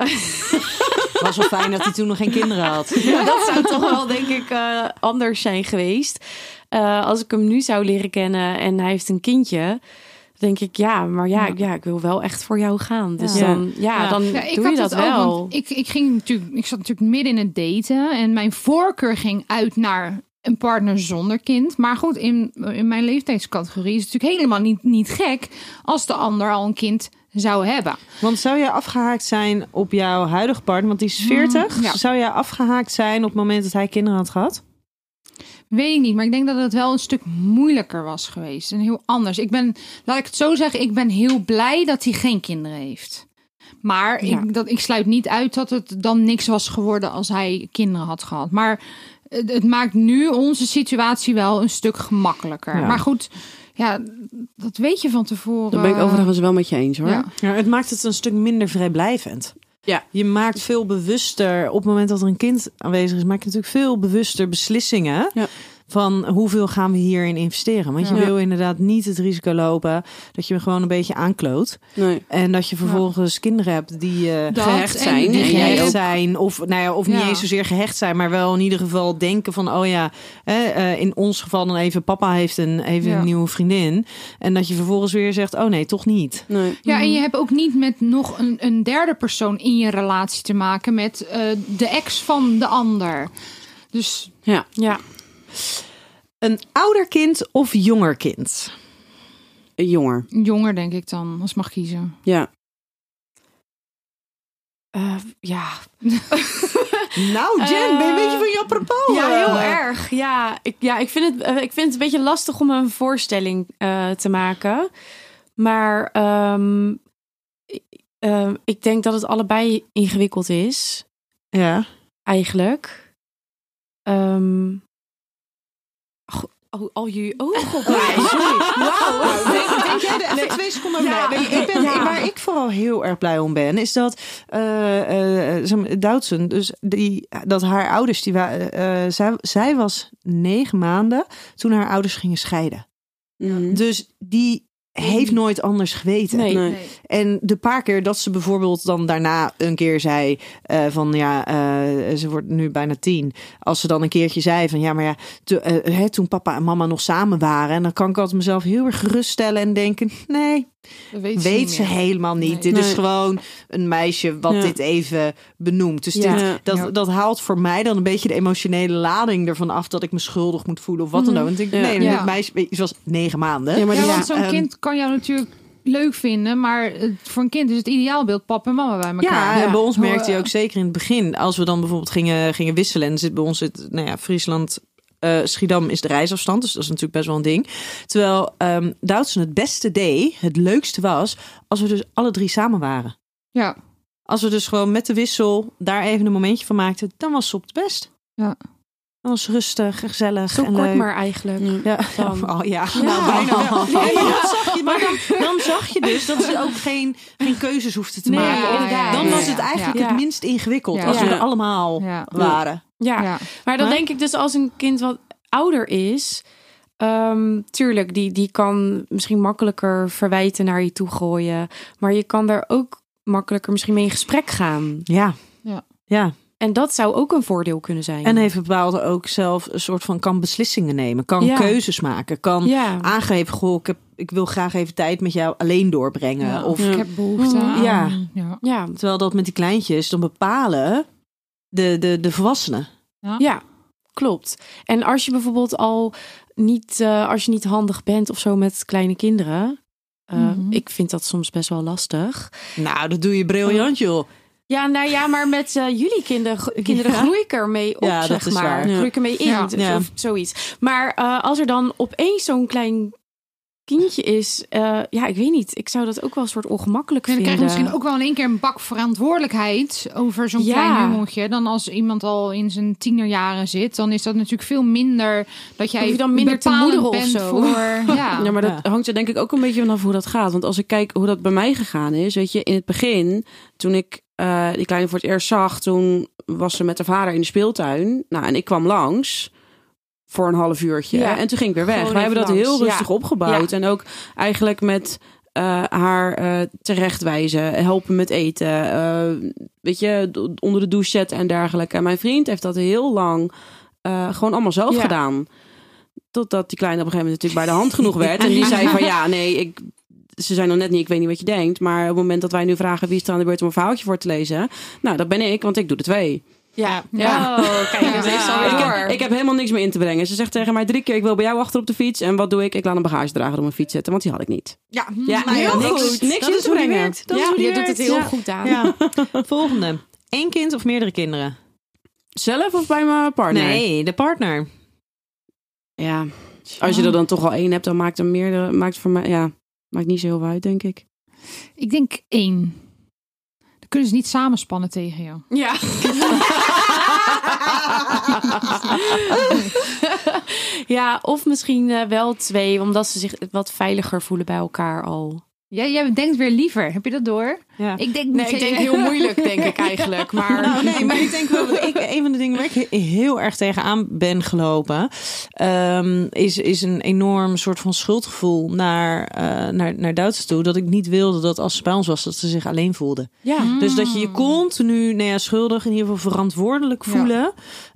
C: Was wel fijn dat hij toen nog geen kinderen had.
D: dat zou toch wel, denk ik, eh, anders zijn geweest. Eh, als ik hem nu zou leren kennen en hij heeft een kindje, denk ik, ja, maar ja, ja. ik wil wel echt voor jou gaan. Dus
B: Ja.
D: dan, ja,
C: Ja.
D: dan
E: Ja, ik
D: doe
E: had
D: je dat
E: dat ook,
D: wel.
E: want ik, ik, ging natuurlijk, ik zat natuurlijk midden in het daten. En mijn voorkeur ging uit naar een partner zonder kind. Maar goed, in, in mijn leeftijdscategorie is het natuurlijk helemaal niet, niet gek... als de ander al een kind zou hebben.
C: Want zou jij afgehaakt zijn op jouw huidige partner? Want die is 40.
E: Ja.
C: Zou jij afgehaakt zijn op het moment dat hij kinderen had gehad?
E: Weet ik niet, maar ik denk dat het wel een stuk moeilijker was geweest. En heel anders. Ik ben, laat ik het zo zeggen, ik ben heel blij dat hij geen kinderen heeft. Maar
D: Ja.
E: ik, dat, ik sluit niet uit dat het dan niks was geworden als hij kinderen had gehad. Maar het, het maakt nu onze situatie wel een stuk gemakkelijker.
C: Ja.
E: Maar goed, ja, dat weet je van tevoren.
B: Dat ben ik overigens wel met je eens hoor.
E: Ja.
C: Ja, het maakt het een stuk minder vrijblijvend.
B: Ja.
C: Je maakt veel bewuster, op het moment dat er een kind aanwezig is, maak je natuurlijk veel bewuster beslissingen.
B: Ja.
C: Van hoeveel gaan we hierin investeren? Want je
B: Ja.
C: wil inderdaad niet het risico lopen dat je hem gewoon een beetje aankloot.
B: Nee.
C: En dat je vervolgens kinderen hebt die eh
E: Dat
B: Gehecht
E: en
B: zijn.
E: die
B: En
C: gehecht
B: jij
E: gehecht-
B: ook.
C: zijn. Of, nou ja, of niet
E: Ja.
C: eens zozeer gehecht zijn, maar wel in ieder geval denken van, oh ja, hè, eh, in ons geval dan even, papa heeft een, even
E: Ja.
C: een nieuwe vriendin. En dat je vervolgens weer zegt, oh nee, toch niet.
B: Nee.
E: Ja, en je hebt ook niet met nog een, een derde persoon in je relatie te maken met eh, de ex van de ander. Dus
B: Ja.
D: ja,
C: Een ouder kind of jonger kind?
B: Een Jonger.
E: Jonger, denk ik dan, als ik mag kiezen.
B: Ja.
D: Eh, ja,
C: Nou, Jen, ben je een
D: Eh,
C: beetje van je apropos?
D: Ja, heel
C: eh.
D: erg. Ja, ik, ja, ik, vind het, eh, ik vind het een beetje lastig om een voorstelling eh, te maken. Maar ehm, ik- ehm, ik denk dat het allebei ingewikkeld is,
C: Ja.
D: eigenlijk. Ehm Goh, oh, oh, je ogen op
C: Wauw. Denk, denk jij er even twee seconden
D: Ja.
C: bij? Ik ben,
D: Ja.
C: Waar ik vooral heel erg blij om ben, is dat eh eh, zeg maar, Doutzen, dus die, dat haar ouders, die wa- eh, zij, zij was negen maanden toen haar ouders gingen scheiden.
B: Mhm.
C: Dus die heeft nooit anders geweten.
D: Nee.
B: Nee.
C: En de paar keer dat ze bijvoorbeeld dan daarna een keer zei eh, van ja, eh, ze wordt nu bijna tien. Als ze dan een keertje zei van ja, maar ja, te- eh, hè, toen papa en mama nog samen waren. En dan kan ik altijd mezelf heel erg geruststellen en denken, nee,
E: Dat weet,
C: weet
E: niet
C: ze
E: meer.
C: helemaal niet.
E: Nee.
C: Dit is
B: Nee.
C: gewoon een meisje wat
B: Ja.
C: dit even benoemt. Dus
B: Ja.
C: dit,
B: Ja.
C: dat,
E: Ja.
C: dat haalt voor mij dan een beetje de emotionele lading ervan af dat ik me schuldig moet voelen of wat dan ook. Want ik denk,
B: Ja.
C: nee,
E: Ja.
C: dit meisje ze was negen maanden.
B: Ja, maar
E: Ja,
B: die-
E: want zo'n
C: ehm,
E: kind kan jou natuurlijk leuk vinden, maar eh, voor een kind is het ideaalbeeld papa en mama bij elkaar.
C: Ja, en bij ons
E: Hoe,
C: merkte je
E: eh,
C: ook zeker in het begin, als we dan bijvoorbeeld gingen, gingen wisselen, en zit bij ons het, nou ja, Friesland. eh, Schiedam is de reisafstand, dus dat is natuurlijk best wel een ding. Terwijl ehm Doutzen het beste deed, het leukste was, als we dus alle drie samen waren.
E: eh, Ja,
C: Als we dus gewoon met de wissel daar even een momentje van maakten, dan was ze op het best.
E: Ja.
C: Dan was ze rustig, gezellig
D: Zo
C: en
D: kort
C: leuk.
D: maar eigenlijk.
C: Ja.
D: Dan.
C: Oh ja, nou bijna wel. Ja, maar dan zag je, maar dan, dan zag je dus dat ze ook geen, geen keuzes hoefden te
D: Nee,
C: maken.
D: ja, inderdaad.
C: Dan
D: Ja,
C: was
D: ja,
C: het eigenlijk
D: ja.
C: het minst ingewikkeld
E: Ja.
C: als we
B: Ja.
C: er allemaal
E: Ja.
C: waren.
D: Ja.
E: ja.
D: Maar dan
C: Maar-
D: denk ik dus als een kind wat ouder is, ehm, tuurlijk, die, die kan misschien makkelijker verwijten naar je toe gooien. Maar je kan daar ook makkelijker misschien mee in gesprek gaan.
C: Ja.
E: Ja.
C: ja.
D: En dat zou ook een voordeel kunnen zijn.
C: En heeft bepaalde ook zelf een soort van kan beslissingen nemen, kan
D: Ja.
C: keuzes maken, kan
D: ja.
C: aangeven, goh, ik, heb, ik wil graag even tijd met jou alleen doorbrengen.
E: Ja.
C: Of, Mm,
E: Ik heb behoefte aan.
C: Ja.
E: ja.
D: ja.
C: Terwijl dat met die kleintjes, dan bepalen de, de, de volwassenen.
D: Ja, klopt. En als je bijvoorbeeld al niet, eh, als je niet handig bent of zo met kleine kinderen. eh,
E: Mhm.
D: Ik vind dat soms best wel lastig.
C: Nou, dat doe je briljant, joh.
D: Ja, nou ja, maar met eh, jullie kinderen, kinderen
C: Ja.
D: groei ik ermee op,
C: Ja, dat
D: zeg
C: is
D: maar.
C: waar.
B: Ja.
D: Groei ik ermee in,
E: Ja.
D: of
C: Ja.
D: of zoiets. Maar eh, als er dan opeens zo'n klein kindje is, eh, ja, ik weet niet. Ik zou dat ook wel een soort ongemakkelijk
E: En dan krijg je
D: vinden.
E: misschien ook wel in één keer een bak verantwoordelijkheid over zo'n
D: Ja.
E: klein jongeltje. Dan als iemand al in zijn tienerjaren zit, dan is dat natuurlijk veel minder dat jij
D: Hoef je dan minder te
E: bepalend
D: moederen of
E: bent
D: zo.
E: Voor, ja.
B: Ja, maar dat
C: Ja.
B: hangt er denk ik ook een beetje vanaf hoe dat gaat. Want als ik kijk hoe dat bij mij gegaan is, weet je, in het begin, toen ik eh, die kleine voor het eerst zag, toen was ze met haar vader in de speeltuin. Nou, en ik kwam langs voor een half uurtje.
D: Ja.
B: En toen ging ik weer weg.
D: Gewoon
B: Wij hebben dat
D: even
B: heel
D: langs.
B: rustig
D: Ja.
B: opgebouwd. En ook eigenlijk met eh, haar eh, terechtwijzen, helpen met eten, eh, weet je, d- onder de douche zetten en dergelijke. En mijn vriend heeft dat heel lang eh, gewoon allemaal zelf
D: Ja.
B: gedaan. Totdat die kleine op een gegeven moment natuurlijk bij de hand genoeg werd. En die zei van ja, nee, ik, ze zijn nog net niet, ik weet niet wat je denkt. Maar op het moment dat wij nu vragen wie is er aan de beurt om een verhaaltje voor te lezen. Nou, dat ben ik, want ik doe de twee.
D: Ja,
B: Ja.
D: Oh, kijk, dat is
E: Ja.
D: alweer.
B: Ik, heb, ik heb helemaal niks meer in te brengen. Ze zegt tegen mij drie keer, ik wil bij jou achter op de fiets. En wat doe ik? Ik laat een bagagedrager op mijn fiets zetten, want die had ik niet.
C: Ja, nou,
B: Ja, heel niks- goed. niks in
C: dat is
B: te
C: hoe die
B: brengen.
C: werkt. Dat
D: ja,
C: is hoe die
D: je doet het
C: werkt.
D: heel
C: Ja.
D: goed aan.
C: Ja. Volgende. Eén kind of meerdere kinderen?
B: Zelf of bij mijn partner?
C: Nee, de partner.
B: Ja, als je er dan toch al één hebt, dan maakt het meerdere, maakt voor mij, ja, maakt niet zo heel veel uit, denk ik.
E: Ik denk één. Dan kunnen ze niet samenspannen tegen jou.
D: Ja. ja, of misschien eh, wel twee, omdat ze zich wat veiliger voelen bij elkaar al.
E: Jij, jij denkt weer liever. Heb je dat door?
C: Ja.
E: Ik denk
D: Nee, ik denk heel moeilijk, denk ik eigenlijk. Maar
C: Nou, nee, maar ik denk wel dat ik een van de dingen waar ik he- heel erg tegenaan ben gelopen, ehm, is, is een enorm soort van schuldgevoel naar, eh naar, naar Duitsers toe. Dat ik niet wilde dat als ze bij ons was, dat ze zich alleen voelden.
D: ja.
C: Dus dat je je continu nou ja, schuldig, in ieder geval verantwoordelijk
E: Ja.
C: voelen.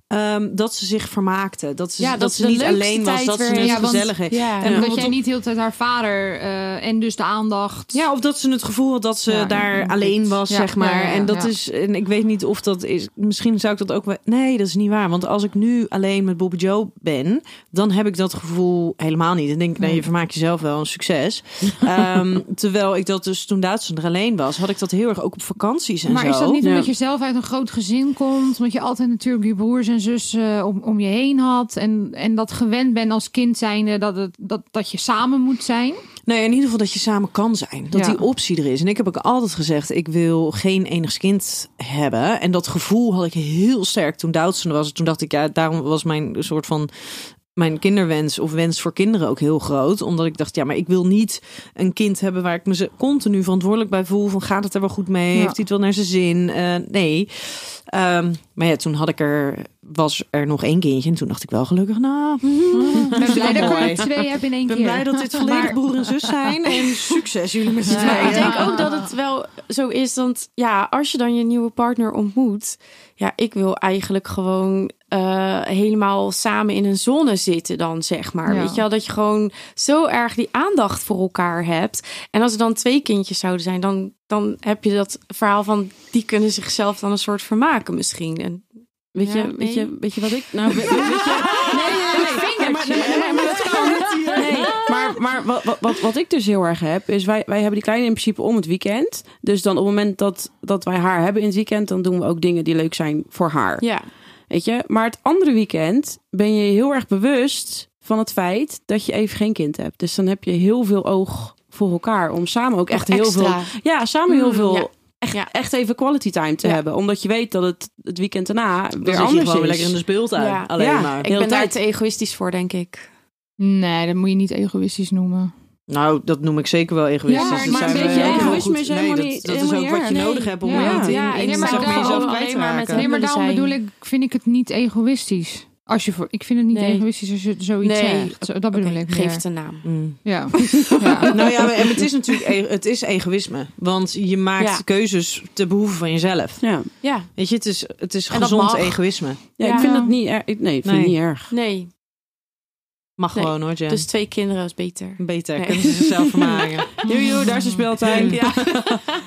C: ehm, dat ze zich vermaakten. Dat ze,
D: Ja,
C: dat
D: dat
C: ze
D: de
C: niet
D: leukste
C: alleen was.
D: tijd
C: Dat ze
D: weer
C: het
E: heeft. Ja, want-
C: gezellig heeft.
D: Ja.
C: En
E: Omdat
C: want
E: jij
C: op-
E: niet heel de tijd haar vader eh, en dus de aandacht.
C: Ja, of dat ze het gevoel had dat ze
E: Ja,
C: daar
E: ja,
C: alleen
E: dit.
C: was,
E: Ja,
C: zeg maar.
E: ja, ja, ja,
C: en dat
E: ja.
C: is, en ik weet niet of dat is. Misschien zou ik dat ook wel. Nee, dat is niet waar. Want als ik nu alleen met Bobby Joe ben, dan heb ik dat gevoel helemaal niet. Dan denk ik, nee, je vermaakt jezelf wel een succes. Ehm, terwijl ik dat dus toen Duitsland er alleen was, had ik dat heel erg ook op vakanties en
E: maar
C: zo.
E: is dat niet
B: Ja.
E: omdat je zelf uit een groot gezin komt? Omdat je altijd natuurlijk je broers en zussen eh, om, om je heen had. En, en dat gewend bent als kind zijnde dat, het, dat, dat je samen moet zijn.
C: Nee, in ieder geval dat je samen kan zijn. Dat
E: Ja.
C: die optie er is. En ik heb ook altijd gezegd, ik wil geen enig kind hebben. En dat gevoel had ik heel sterk toen Doutzen was. Toen dacht ik, ja, daarom was mijn soort van... Mijn kinderwens of wens voor kinderen ook heel groot. Omdat ik dacht, ja, maar ik wil niet een kind hebben waar ik me ze- continu verantwoordelijk bij voel. Van gaat het er wel goed mee?
E: Ja.
C: Heeft hij het wel naar zijn zin? Eh, nee. Ehm, maar ja, toen had ik er, was er nog één kindje. En toen dacht ik wel gelukkig, nou,
E: Ik ben blij
C: wel
E: dat ik
C: mooi.
E: er twee heb in één
C: ik ben
E: keer.
C: blij dat dit volledig
E: Maar-
C: broer en zus zijn. En succes jullie met z'n
E: Ja,
D: Maar
C: tweeën.
D: ik denk ook dat het wel Ah. zo is, want ja, als je dan je nieuwe partner ontmoet, ja, ik wil eigenlijk gewoon eh, helemaal samen in een zone zitten dan, zeg maar.
E: Ja.
D: Weet je wel, dat je gewoon zo erg die aandacht voor elkaar hebt. En als er dan twee kindjes zouden zijn, dan, dan heb je dat verhaal van, die kunnen zichzelf dan een soort vermaken misschien. En,
B: Weet,
D: Ja,
B: je, weet,
D: nee.
B: je, weet je wat ik. Nou, weet, weet je. Nee, nee, nee. Maar, nee, maar- maar dat kan niet. Nee, maar, maar wat, wat- wat, wat ik dus heel erg heb, is wij, wij hebben die kleine in principe om het weekend. Dus dan op het moment dat, dat wij haar hebben in het weekend, dan doen we ook dingen die leuk zijn voor haar.
D: ja,
B: Weet je? Maar het andere weekend ben je heel erg bewust van het feit dat je even geen kind hebt. Dus dan heb je heel veel oog voor elkaar om samen ook echt heel veel. Ja, samen heel
D: Mm,
B: veel.
D: ja.
B: Echt,
D: Ja.
B: echt even quality time te
D: Ja.
B: hebben. Omdat je weet dat het het weekend daarna weer
C: Dan zit je
B: anders
C: gewoon
B: is.
C: weer lekker in de speeltuin.
D: Ja.
C: Alleen
B: Ja.
C: maar.
D: ik
B: eh, Heel
D: ben daar
B: tijd.
D: te egoïstisch voor, denk ik.
E: Nee, dat moet je niet egoïstisch noemen.
C: Nou, dat noem ik zeker wel egoïstisch.
E: Ja,
C: Dat
E: maar
C: zijn
E: een
C: we
E: beetje
C: heel
B: egoïsme
C: goed.
B: is
C: Nee,
B: helemaal
C: dat-
B: niet-
C: Dat,
B: helemaal
C: is ook wat je
B: niet erg.
C: nodig hebt om
E: Ja.
C: niet in,
D: Ja,
C: in
D: nee,
C: de
D: maar
C: zak van
D: daarom
C: jezelf
D: alleen
C: kwijt te
D: maar met
C: raken.
E: Nee, maar
D: Handelen
E: daarom
D: zijn.
E: bedoel ik, vind ik het niet egoïstisch. Als je voor, ik vind het niet
D: Nee.
E: egoïstisch als je zoiets
D: Nee.
E: zegt. Zo- Dat bedoel
D: Oké,
E: ik meer.
D: geef het een naam.
C: Mm.
E: Ja. ja.
C: Nou ja, maar- en het is natuurlijk e- het is egoïsme. Want je maakt
D: Ja.
C: keuzes te behoeven van jezelf.
B: Ja,
D: Ja,
C: Weet je, het is, het is
D: En dat
C: gezond
D: mag.
C: egoïsme.
B: ja, ik
D: Ja.
B: vind dat niet erg. ik- Nee, ik vind
C: Nee.
B: het niet erg.
D: nee.
C: Mag
D: Nee,
C: gewoon hoor, Jen.
D: Dus twee kinderen is beter.
C: Beter,
D: Nee.
C: kunnen ze zichzelf vermaken.
B: Jojo, daar is de speeltuin.
C: Ja.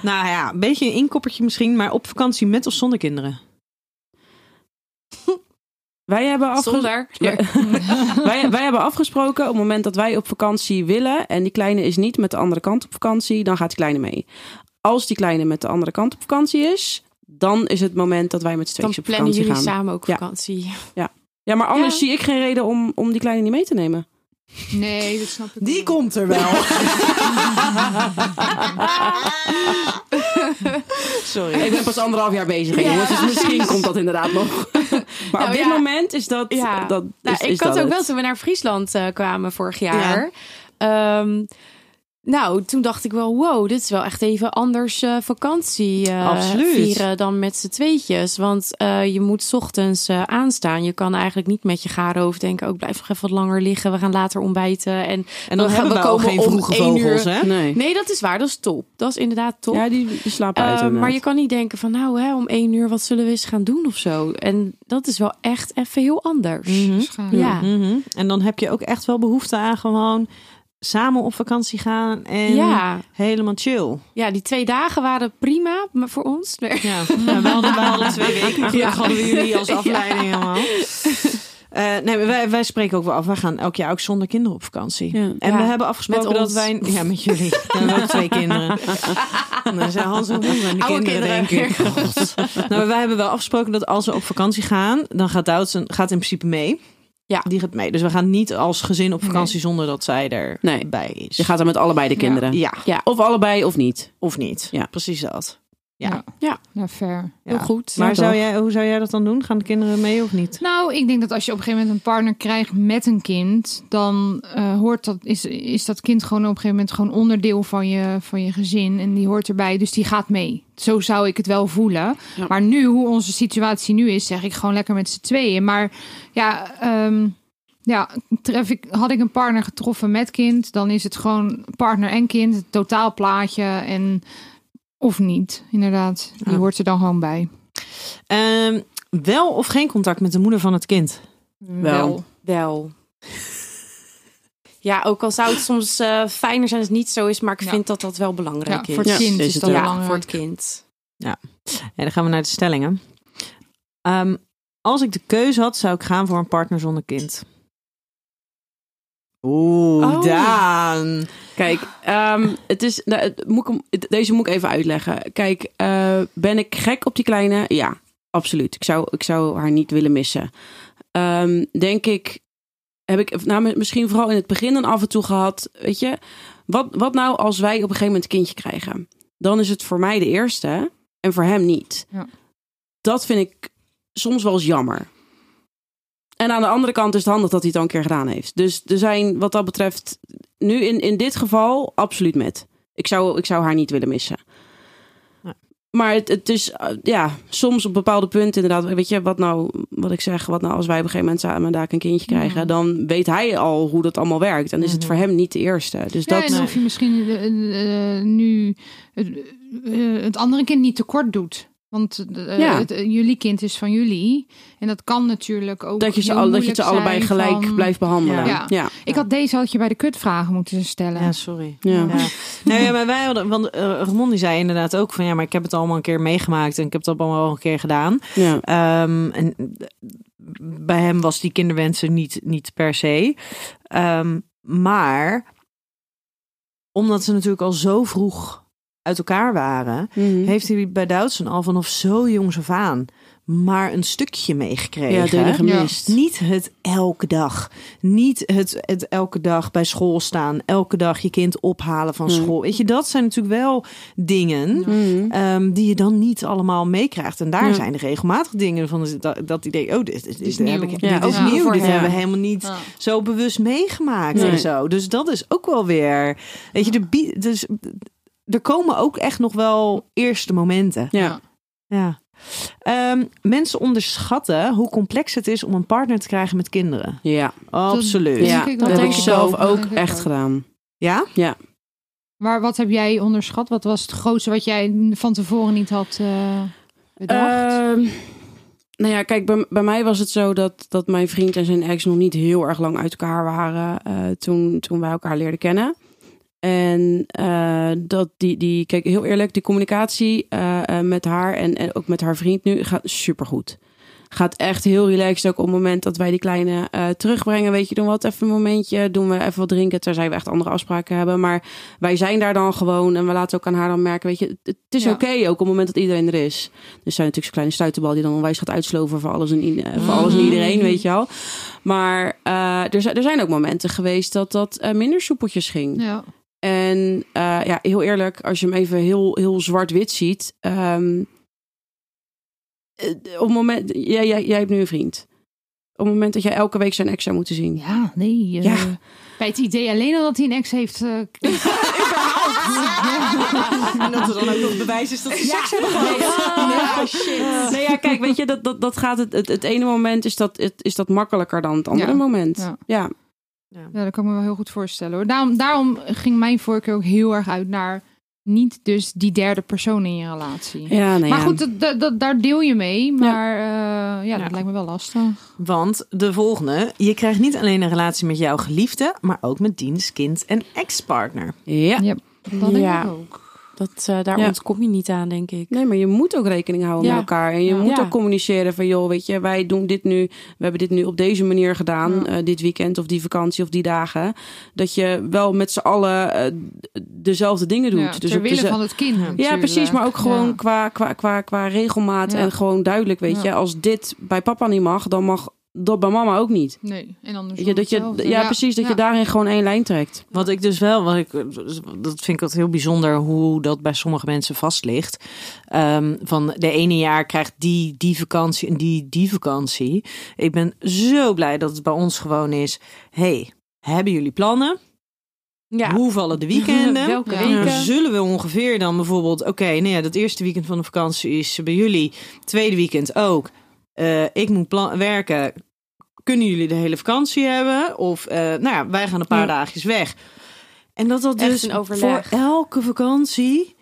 C: nou ja, een beetje een inkoppertje misschien, maar op vakantie met of zonder kinderen.
B: Wij hebben afgesproken.
D: Zonder.
B: wij, wij hebben afgesproken op het moment dat wij op vakantie willen en die kleine is niet met de andere kant op vakantie, dan gaat de kleine mee. Als die kleine met de andere kant op vakantie is, dan is het moment dat wij met z'n
D: Dan
B: tweeën op
D: plannen
B: vakantie
D: jullie
B: gaan.
D: samen ook
B: Ja. Dus
D: vakantie.
B: Ja, maar anders
D: Ja.
B: zie ik geen reden om, om die kleine niet mee te nemen.
E: Nee, dat snap ik
C: Die
E: niet.
C: komt er wel. Sorry.
B: Ik ben pas anderhalf jaar bezig,
D: Ja.
B: jongens, dus misschien komt dat inderdaad nog. Maar
D: Nou,
B: op dit
D: ja.
B: moment is dat...
D: Ja.
B: dat
D: Nou,
B: is,
D: ik
B: is
D: had
B: dat
D: ook wel
B: het.
D: toen we naar Friesland eh, kwamen vorig jaar. Ehm, nou, toen dacht ik wel, wow, dit is wel echt even anders eh, vakantie eh,
C: Absoluut.
D: vieren dan met z'n tweetjes. Want eh, je moet 's ochtends eh, aanstaan. Je kan eigenlijk niet met je gare hoofd denken, ook blijf nog even wat langer liggen. We gaan later ontbijten. En,
C: En dan
D: we
C: hebben we,
D: komen
C: ook geen
D: om
C: vroege
D: één uur.
C: vogels, hè?
B: Nee.
D: Nee, dat is waar. Dat is top. Dat is inderdaad top.
B: Ja, die, die slapen uit.
D: Eh, maar
B: inderdaad.
D: je kan niet denken van nou hè, om één uur wat zullen we eens gaan doen of zo. En dat is wel echt even heel anders.
E: Schaam.
D: Mhm. Ja.
C: Mhm. En dan heb je ook echt wel behoefte aan gewoon samen op vakantie gaan en
D: Ja.
C: helemaal chill.
D: ja, die twee dagen waren prima maar voor ons. Nee.
C: Ja, ja we hadden, we hadden twee weken. Maar gelukkig hadden we jullie als afleiding helemaal. Eh, nee, maar wij, wij spreken ook wel af. Wij gaan elk jaar ook zonder kinderen op vakantie.
B: Ja.
C: En
D: Ja,
C: we hebben afgesproken
D: met
C: dat
D: ons.
C: wij... Ja, met jullie. We hebben ook twee kinderen. Nou, dat zijn Hans en Roel zijn die
D: Oude
C: kinderen,
D: kinderen.
C: denk ik. God. Nou, maar wij hebben wel afgesproken dat als we op vakantie gaan... dan gaat Doutzen gaat in principe mee.
D: Ja.
C: Die gaat mee. Dus we gaan niet als gezin op vakantie zonder dat zij erbij
B: Nee.
C: bij is.
B: Je gaat er met allebei de kinderen.
C: Ja,
D: Ja,
B: Of allebei of niet.
C: of niet.
B: Ja.
C: Precies dat. Ja.
E: Ja.
D: Ja.
E: Nou, fair.
C: Ja.
D: heel goed.
C: Maar
D: Ja,
C: zou
D: toch?
C: jij, hoe zou jij dat dan doen? Gaan de kinderen mee of niet?
E: Nou, ik denk dat als je op een gegeven moment een partner krijgt met een kind, dan eh, hoort dat, is, is dat kind gewoon op een gegeven moment gewoon onderdeel van je, van je gezin. En die hoort erbij, dus die gaat mee. Zo zou ik het wel voelen.
B: Ja.
E: Maar nu, hoe onze situatie nu is, zeg ik gewoon lekker met z'n tweeën. Maar ja, ehm, ja tref ik, had ik een partner getroffen met kind, dan is het gewoon partner en kind, het totaalplaatje en... Of niet, inderdaad. Die
C: Ja.
E: hoort er dan gewoon bij.
C: Ehm, wel of geen contact met de moeder van het kind?
B: Wel.
D: wel. Ja, ook al zou het soms eh, fijner zijn als het niet zo is, maar ik
E: Ja.
D: vind dat dat wel
E: Ja,
D: belangrijk
E: voor
D: is.
E: het
B: Ja,
E: kind
B: is
E: is
B: het
E: dat eh,
B: wel.
D: ja,
E: belangrijk.
D: voor het kind.
C: Ja, dan gaan we naar de stellingen. Ehm, als ik de keuze had, zou ik gaan voor een partner zonder kind. Oeh,
D: Oh.
C: Daan.
B: Kijk, ehm, het is, nou, het- moet ik hem- het- deze moet ik even uitleggen. Kijk, eh, ben ik gek op die kleine? Ja, absoluut. Ik zou, ik zou haar niet willen missen. Ehm, denk ik, heb ik nou, mi- misschien vooral in het begin dan af en toe gehad. Weet je, wat, wat nou als wij op een gegeven moment een kindje krijgen? Dan is het voor mij de eerste en voor hem niet.
E: Ja.
B: Dat vind ik soms wel eens jammer. En aan de andere kant is het handig dat hij het al een keer gedaan heeft. Dus er zijn wat dat betreft nu in, in dit geval absoluut met. Ik zou, ik zou haar niet willen missen.
C: Nee.
B: Maar het, het is eh, ja, soms op bepaalde punten inderdaad. Weet je, wat nou, wat ik zeg, wat nou als wij op een gegeven moment samen daar een kindje krijgen, dan weet hij al hoe dat allemaal werkt. En is het voor hem niet de eerste. Dus
E: Ja,
B: dat.
E: en of je misschien eh, eh, nu het, eh, het andere kind niet tekort doet. Want eh,
B: Ja.
E: het, eh, jullie kind is van jullie. En dat kan natuurlijk ook.
B: Dat je, ze
E: heel
B: al, dat je
E: moeilijk
B: ze allebei
E: zijn
B: gelijk
E: van-
B: blijft behandelen.
E: Ja.
B: Ja. Ja.
E: Ik had deze had je bij de kutvragen moeten stellen.
C: Ja, sorry.
B: Ja.
C: Ja. Nee, ja, maar wij hadden, want eh, Ramon die zei inderdaad ook van ja, maar ik heb het allemaal een keer meegemaakt en ik heb het allemaal al een keer gedaan. Ehm, en bij hem was die kinderwensen niet, niet per se. Ehm, maar omdat ze natuurlijk al zo vroeg uit elkaar waren,
B: Mhm.
C: heeft hij bij Doutzen al vanaf zo jongs af aan maar een stukje
B: ja,
C: meegekregen.
B: dingen gemist.
C: Niet het elke dag. Niet het, het elke dag bij school staan. Elke dag je kind ophalen van
B: Hmm.
C: school. Weet je, dat zijn natuurlijk wel dingen.
B: Mhm.
C: ehm, die je dan niet allemaal meekrijgt. En daar
B: Ja.
C: zijn er regelmatig dingen van dat, dat idee. Oh, dit, dit, dit
E: is
C: heb
E: nieuw.
C: ik
E: Ja,
C: dit is
E: ook
C: nieuw.
D: voor
C: Dit
B: hem.
C: hebben we helemaal niet
E: Ja.
C: zo bewust meegemaakt
B: Nee.
C: en zo. Dus dat is ook wel weer. Weet je, de, bie- dus, er komen ook echt nog wel eerste momenten.
B: Ja.
E: Ja.
C: Ja. Ehm, mensen onderschatten hoe complex het is om een partner te krijgen met kinderen.
B: Ja,
C: Absoluut.
E: denk
C: Ja?
B: ja.
E: Dus ik
B: dat
E: wel.
B: heb ik
E: Dat
B: zelf
E: denk ik
B: ook
E: ook.
B: echt gedaan.
E: Maar wat heb jij onderschat? Wat was het grootste wat jij van tevoren niet had eh, bedacht?
B: Ehm, nou ja, kijk, bij, bij mij was het zo dat, dat mijn vriend en zijn ex nog niet heel erg lang uit elkaar waren eh, toen, toen wij elkaar leerden kennen. En eh, dat die, die, kijk, heel eerlijk, die communicatie eh, eh, met haar en, en ook met haar vriend nu gaat supergoed. Gaat echt heel relaxed. Ook op het moment dat wij die kleine eh, terugbrengen. Weet je, doen we wat even een momentje. Doen we even wat drinken. Terzij we echt andere afspraken hebben. Maar wij zijn daar dan gewoon. En we laten ook aan haar dan merken. Weet je, het, het is
E: Ja.
B: oké. ook op het moment dat iedereen er is. Dus zijn natuurlijk zo'n kleine stuiterbal die dan onwijs gaat uitsloven voor alles en, i- eh, voor
E: Mm.
B: alles en iedereen, weet je wel. Maar eh, er, zijn- er zijn ook momenten geweest dat dat eh, minder soepeltjes ging.
E: ja.
B: En eh, ja, heel eerlijk, als je hem even heel, heel zwart-wit ziet. ehm, eh, op het moment, jij, jij, jij hebt nu een vriend. Op het moment dat jij elke week zijn ex zou moeten zien.
E: ja, nee. eh,
B: Ja.
E: Bij het idee alleen al dat hij een ex heeft. eh,
C: En dat er dan ook nog bewijs is dat ze seks hebben Oh,
B: Nee, ja. Nee, ja, kijk, weet je, dat, dat, dat gaat het, het, het ene moment is dat, het, is dat makkelijker dan het andere
E: Ja.
B: moment.
E: Ja.
B: ja.
E: Ja, dat kan ik me wel heel goed voorstellen hoor. Daarom, daarom ging mijn voorkeur ook heel erg uit naar niet dus die derde persoon in je relatie.
B: Ja, nee,
E: Maar
B: ja.
E: goed, dat, dat, dat- daar deel je mee. Maar eh, ja,
C: Ja.
E: dat lijkt me wel lastig.
C: Want de volgende, je krijgt niet alleen een relatie met jouw geliefde, maar ook met diens kind en ex-partner.
B: Ja.
E: Dat denk
D: Ja.
E: ik ook.
D: Dat, eh, daar
B: Ja.
D: ontkom je niet aan, denk ik.
B: Nee, maar je moet ook rekening houden
D: Ja.
B: met elkaar. En je
E: Ja.
B: moet
D: Ja.
B: ook communiceren van, joh, weet je, wij doen dit nu. We hebben dit nu op deze manier gedaan.
E: Ja.
B: eh, dit weekend of die vakantie of die dagen. Dat je wel met z'n allen eh, d- dezelfde dingen doet.
E: Ja,
B: Dus
E: ter
B: ook
E: wille
B: deze-
E: van het kind.
B: ja,
E: natuurlijk.
B: precies. Maar ook gewoon
E: Ja.
B: qua, qua, qua, qua regelmaat
E: Ja.
B: en gewoon duidelijk, weet
E: Ja.
B: je. Als dit bij papa niet mag, dan mag dat bij mama ook niet.
E: Nee, en
B: Weet
E: andersom.
B: je, dat je,
E: hetzelfde.
B: ja, precies. Dat
E: Ja.
B: je daarin gewoon één lijn trekt.
C: Wat ik dus wel, wat ik, dat vind ik altijd heel bijzonder hoe dat bij sommige mensen vast ligt. Ehm, van de ene jaar krijgt die die vakantie en die die vakantie. Ik ben zo blij dat het bij ons gewoon is. hey, hebben jullie plannen? Hoe vallen de weekenden?
D: Welke
E: Ja.
D: weken?
B: Ja.
C: Zullen we ongeveer dan bijvoorbeeld, oké, nou ja, dat eerste weekend van de vakantie is bij jullie, tweede weekend ook. Eh, ik moet plan- werken. Kunnen jullie de hele vakantie hebben? Of, eh, nou ja, wij gaan een paar
B: Ja.
C: dagjes weg. En dat dat
D: Echt
C: dus
D: een
C: voor
D: overleg.
C: elke vakantie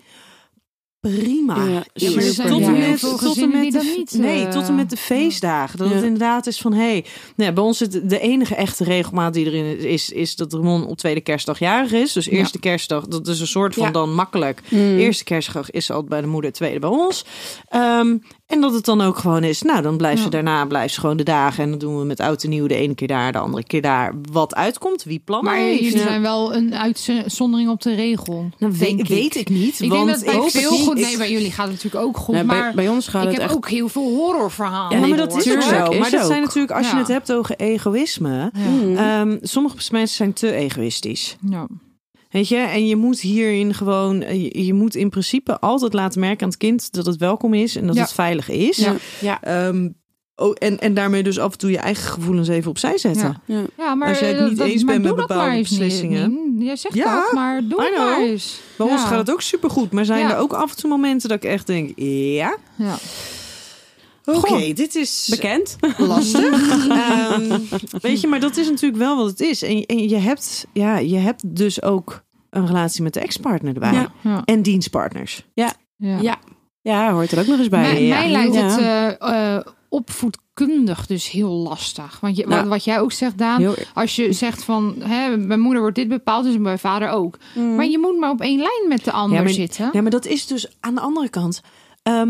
C: prima.
B: Ja,
C: is. Dus
B: maar er zijn
C: tot,
B: heel
C: en
B: veel
C: met,
E: gezinnen
C: tot en met
E: die
C: de,
E: dat
C: f-
E: niet,
C: nee,
E: eh,
C: tot en met de feestdagen. Dat het
B: Ja.
C: inderdaad is van, hé, hey, nou ja, bij ons is het- de enige echte regelmaat die erin is, is dat Ramon op tweede kerstdag jarig is. Dus eerste kerstdag, dat is een soort van
D: Ja.
C: dan makkelijk.
E: Mm.
C: Eerste kerstdag is ze altijd bij de moeder, tweede bij ons. Ehm, en dat het dan ook gewoon is, nou dan blijft ze
E: Ja.
C: daarna, blijft ze gewoon de dagen. En dan doen we met oud en nieuw de ene keer daar, de andere keer daar. Wat uitkomt, wie plannen
E: Maar
C: heeft.
E: jullie
C: Ja.
E: zijn wel een uitzondering op de regel.
C: Nou, we-
E: denk
C: weet, ik niet,
E: Ik
C: want
E: denk dat bij
C: ik
E: veel
C: hoop het
E: goed.
C: niet.
E: Nee, bij jullie gaat het natuurlijk ook goed.
B: Nee, bij,
E: maar
B: bij ons gaat
E: ik
B: het
E: heb
B: echt...
E: ook heel veel horrorverhalen.
C: Ja,
B: Ja,
C: maar dat is ook
B: natuurlijk,
C: zo.
B: is
C: Maar dat
B: ook.
C: zijn natuurlijk, als je
E: Ja. Mhm.
C: het hebt over egoïsme.
B: Mm.
E: Ja.
C: ehm, sommige mensen zijn te egoïstisch.
E: Ja.
C: Weet je, en je moet hierin gewoon, eh, je, je moet in principe altijd laten merken aan het kind dat het welkom is en dat
E: Ja.
C: het veilig is.
E: Ja.
D: Ja.
C: Ehm, oh, en, en daarmee dus af en toe je eigen gevoelens even opzij zetten.
E: Ja, maar
C: Als jij het
E: eh,
C: niet eens
E: maar
C: bent met
E: doe dat
C: bepaalde
E: maar eens,
C: beslissingen.
E: Nien. Jij zegt
C: Ja,
E: dat, maar doe
C: I
E: het maar
C: know.
E: eens.
C: Bij ons
E: Ja.
C: gaat het ook supergoed, maar zijn
E: Ja.
C: er ook af en toe momenten dat ik echt denk, ja,
E: Ja.
C: oké,
B: Goh.
C: dit is
B: Bekend?
C: lastig. Ehm, weet je, maar dat is natuurlijk wel wat het is. En, en je, hebt, ja, je hebt dus ook een relatie met de ex-partner erbij.
B: Ja.
E: Ja.
C: En dienstpartners.
E: Ja.
D: Ja.
B: Ja, hoort er ook nog eens bij.
E: Mij,
C: ja.
E: mij lijkt
B: Ja.
E: het eh, eh, opvoedkundig dus heel lastig. Want je,
B: Nou.
E: wat, wat jij ook zegt, Daan,
B: Heel-
E: als je zegt van hè, mijn moeder wordt dit bepaald, dus mijn vader ook. Maar je moet maar op één lijn met de ander
C: Ja, maar-
E: zitten.
C: Ja, maar dat is dus aan de andere kant. ehm,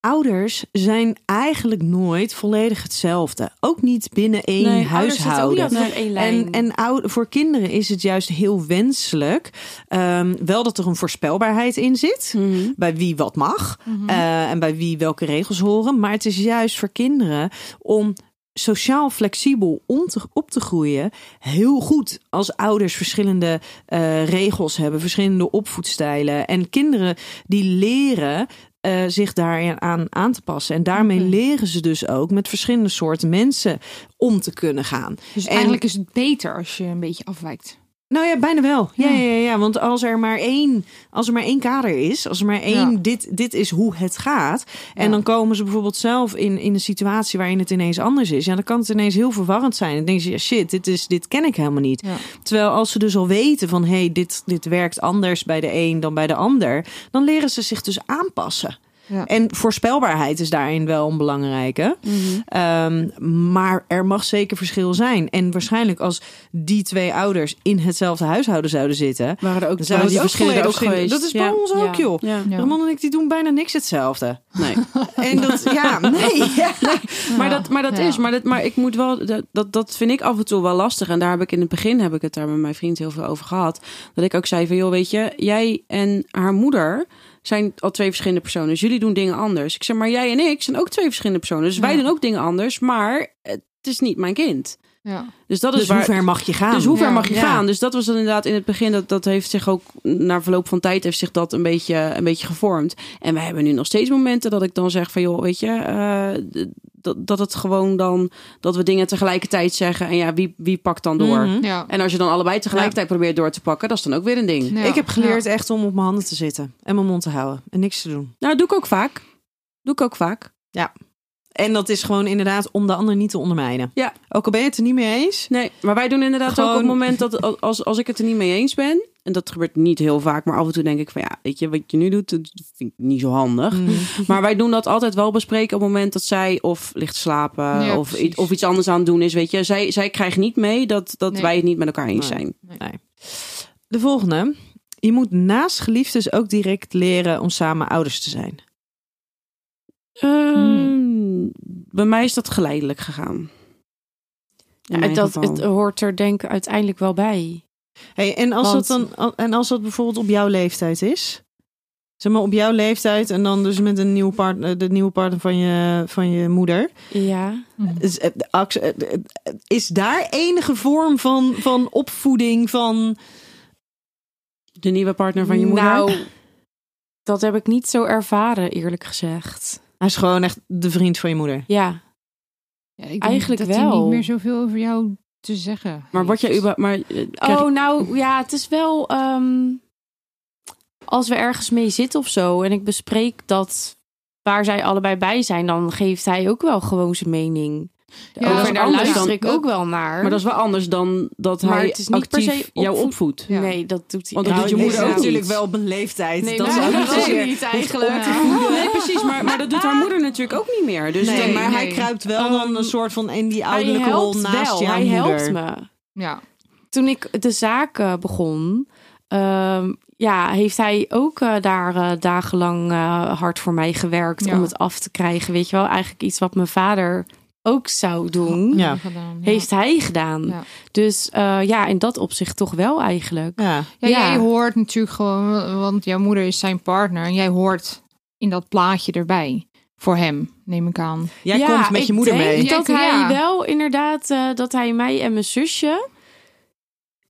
C: ouders zijn eigenlijk nooit volledig hetzelfde. Ook niet binnen één
D: Ouders zitten oh, ook niet
C: huishouden.
D: altijd op één lijn.
C: En, en oude, voor kinderen is het juist heel wenselijk. ehm, wel dat er een voorspelbaarheid in zit.
B: Mhm.
C: bij wie wat mag eh, en bij wie welke regels horen. Maar het is juist voor kinderen om sociaal flexibel om te- op te groeien heel goed als ouders verschillende eh, regels hebben, verschillende opvoedstijlen en kinderen die leren. eh, zich daaraan aan, aan te passen. En daarmee leren ze dus ook met verschillende soorten mensen om te kunnen gaan.
E: dus
C: en-
E: eigenlijk is het beter als je een beetje afwijkt.
C: Nou ja, bijna wel. Ja,
E: Ja.
C: ja. Ja, ja, want als er maar één, als er maar één kader is, als er maar één,
E: Ja.
C: dit, dit is hoe het gaat. En
E: Ja.
C: dan komen ze bijvoorbeeld zelf in, in een situatie waarin het ineens anders is. Ja, dan kan het ineens heel verwarrend zijn. Dan denk je, ja, shit, dit, is, dit ken ik helemaal niet.
E: Ja.
C: Terwijl als ze dus al weten van, hé, hey, dit, dit werkt anders bij de een dan bij de ander, dan leren ze zich dus aanpassen.
E: Ja.
C: En voorspelbaarheid is daarin wel een belangrijke.
B: Mhm.
C: Ehm, maar er mag zeker verschil zijn. En waarschijnlijk als die twee ouders in hetzelfde huishouden zouden zitten,
B: Waren er ook, waren
C: dan zouden
B: die
C: die
B: verschillen er ook geweest?
C: Dat is bij
B: ja.
C: ons ook,
D: Ja.
C: joh.
B: Ja.
E: Ja.
C: Ramon en ik die doen bijna niks hetzelfde.
B: Nee.
C: En dat, ja, nee. Ja.
B: Maar dat, maar dat
E: Ja.
B: is, maar, dat, maar ik moet wel, dat- dat, dat vind ik af en toe wel lastig. En daar heb ik in het begin, heb ik het daar met mijn vriend heel veel over gehad. Dat ik ook zei van, joh, weet je, jij en haar moeder zijn al twee verschillende personen. Dus jullie doen dingen anders. Ik zeg, maar jij en ik zijn ook twee verschillende personen. Dus wij
E: Ja.
B: doen ook dingen anders, maar het is niet mijn kind.
E: Ja.
B: Dus dat
C: Dus
B: is waar...
C: hoe ver mag je gaan?
B: Dus hoe ver
E: Ja.
B: mag je
C: Ja.
B: gaan? Dus dat was dan inderdaad in het begin. Dat, dat heeft zich ook na verloop van tijd heeft zich dat een beetje, een beetje gevormd. En we hebben nu nog steeds momenten dat ik dan zeg van joh, weet je, eh, d- dat, dat het gewoon dan dat we dingen tegelijkertijd zeggen. En ja, wie, wie pakt dan door?
C: Mhm.
E: Ja.
B: En als je dan allebei tegelijkertijd probeert door te pakken, dat is dan ook weer een ding.
E: Ja.
C: Ik heb geleerd echt om op mijn handen te zitten en mijn mond te houden en niks te doen.
B: Nou, dat doe ik ook vaak. Doe ik ook vaak.
C: En dat is gewoon inderdaad om de ander niet te ondermijnen.
B: Ja.
C: Ook al ben je het er niet mee eens.
B: Nee, maar wij doen inderdaad ook op het
C: Gewoon-
B: moment dat als, als ik het er niet mee eens ben. En dat gebeurt niet heel vaak, maar af en toe denk ik van ja, weet je, wat je nu doet, dat vind ik niet zo handig. Maar wij doen dat altijd wel bespreken op het moment dat zij of ligt te slapen
E: Ja,
B: of,
E: precies.
B: i- of iets anders aan het doen is. Weet je, zij, zij krijgt niet mee dat, dat
E: Nee.
B: wij het niet met elkaar eens
C: Nee.
B: zijn.
C: De volgende. Je moet naast geliefdes ook direct leren om samen ouders te zijn.
D: Hmm.
B: Ehm, Bij mij is dat geleidelijk gegaan. In
D: Ja,
B: mijn
D: dat
B: geval.
D: het hoort er denk ik uiteindelijk wel bij.
C: Hey, en, als
D: Want-
C: dat dan, en als dat bijvoorbeeld op jouw leeftijd is? Zeg maar op jouw leeftijd en dan dus met een nieuwe partner, de nieuwe partner van je, van je moeder.
D: Ja.
E: Mm.
C: Is, eh, de actie- eh, de- eh, is daar enige vorm van, van opvoeding van...
B: de nieuwe partner van je moeder.
D: Nou, dat heb ik niet zo ervaren, eerlijk gezegd.
C: Hij is gewoon echt de vriend van je moeder.
D: Ja.
E: Ja, ik denk
D: Eigenlijk
E: dat hij
D: wel.
E: niet meer zoveel over jou te zeggen.
B: maar word je
E: heeft.
B: uber, maar eh, krijg-
D: Oh, nou ja, het is wel. ehm, als we ergens mee zitten of zo en ik bespreek dat waar zij allebei bij zijn, dan geeft hij ook wel gewoon zijn mening.
E: Ja,
D: Over
B: dat is
D: daar
B: anders
D: luister
B: dan-
D: ik ook wel naar.
B: maar dat is wel anders dan dat
D: Maar
B: hij
D: het is niet per
B: actief
D: se
B: jou
D: opvoed-
B: opvoedt.
E: Ja.
D: Nee, dat doet hij.
B: Want dat
D: nou,
B: doet je
D: nee,
B: moeder
D: nou,
B: ook niet.
C: op een leeftijd.
D: Nee,
C: dat is
D: nou,
C: ook
D: dat
C: niet
D: ook
C: zozeer.
D: niet eigenlijk.
B: Nee, precies. Maar, maar dat doet haar moeder natuurlijk ook niet meer. Dus
C: Nee,
B: dan-
C: maar hij
E: nee.
C: kruipt wel dan een soort van in die
D: Hij
C: ouderlijke rol
D: helpt
C: naast
D: wel.
C: jouw
D: Hij
C: moeder.
D: helpt me.
E: Ja.
D: toen ik de zaak eh, begon, ehm, ja, heeft hij ook eh, daar eh, dagenlang eh, hard voor mij gewerkt
E: Ja.
D: om het af te krijgen. Weet je wel, eigenlijk iets wat mijn vader ook zou doen,
C: Ja.
E: Gedaan, ja.
D: heeft hij gedaan.
E: Ja.
D: Dus eh, ja, in dat opzicht toch wel eigenlijk.
C: Ja.
E: Ja,
D: Ja.
E: jij hoort natuurlijk gewoon, want jouw moeder is zijn partner. En jij hoort in dat plaatje erbij. Voor hem, neem ik aan.
C: Jij
D: Ja,
C: komt met je moeder
D: ik denk
C: mee.
D: dat
E: Ja.
D: hij wel inderdaad, eh, dat hij mij en mijn zusje,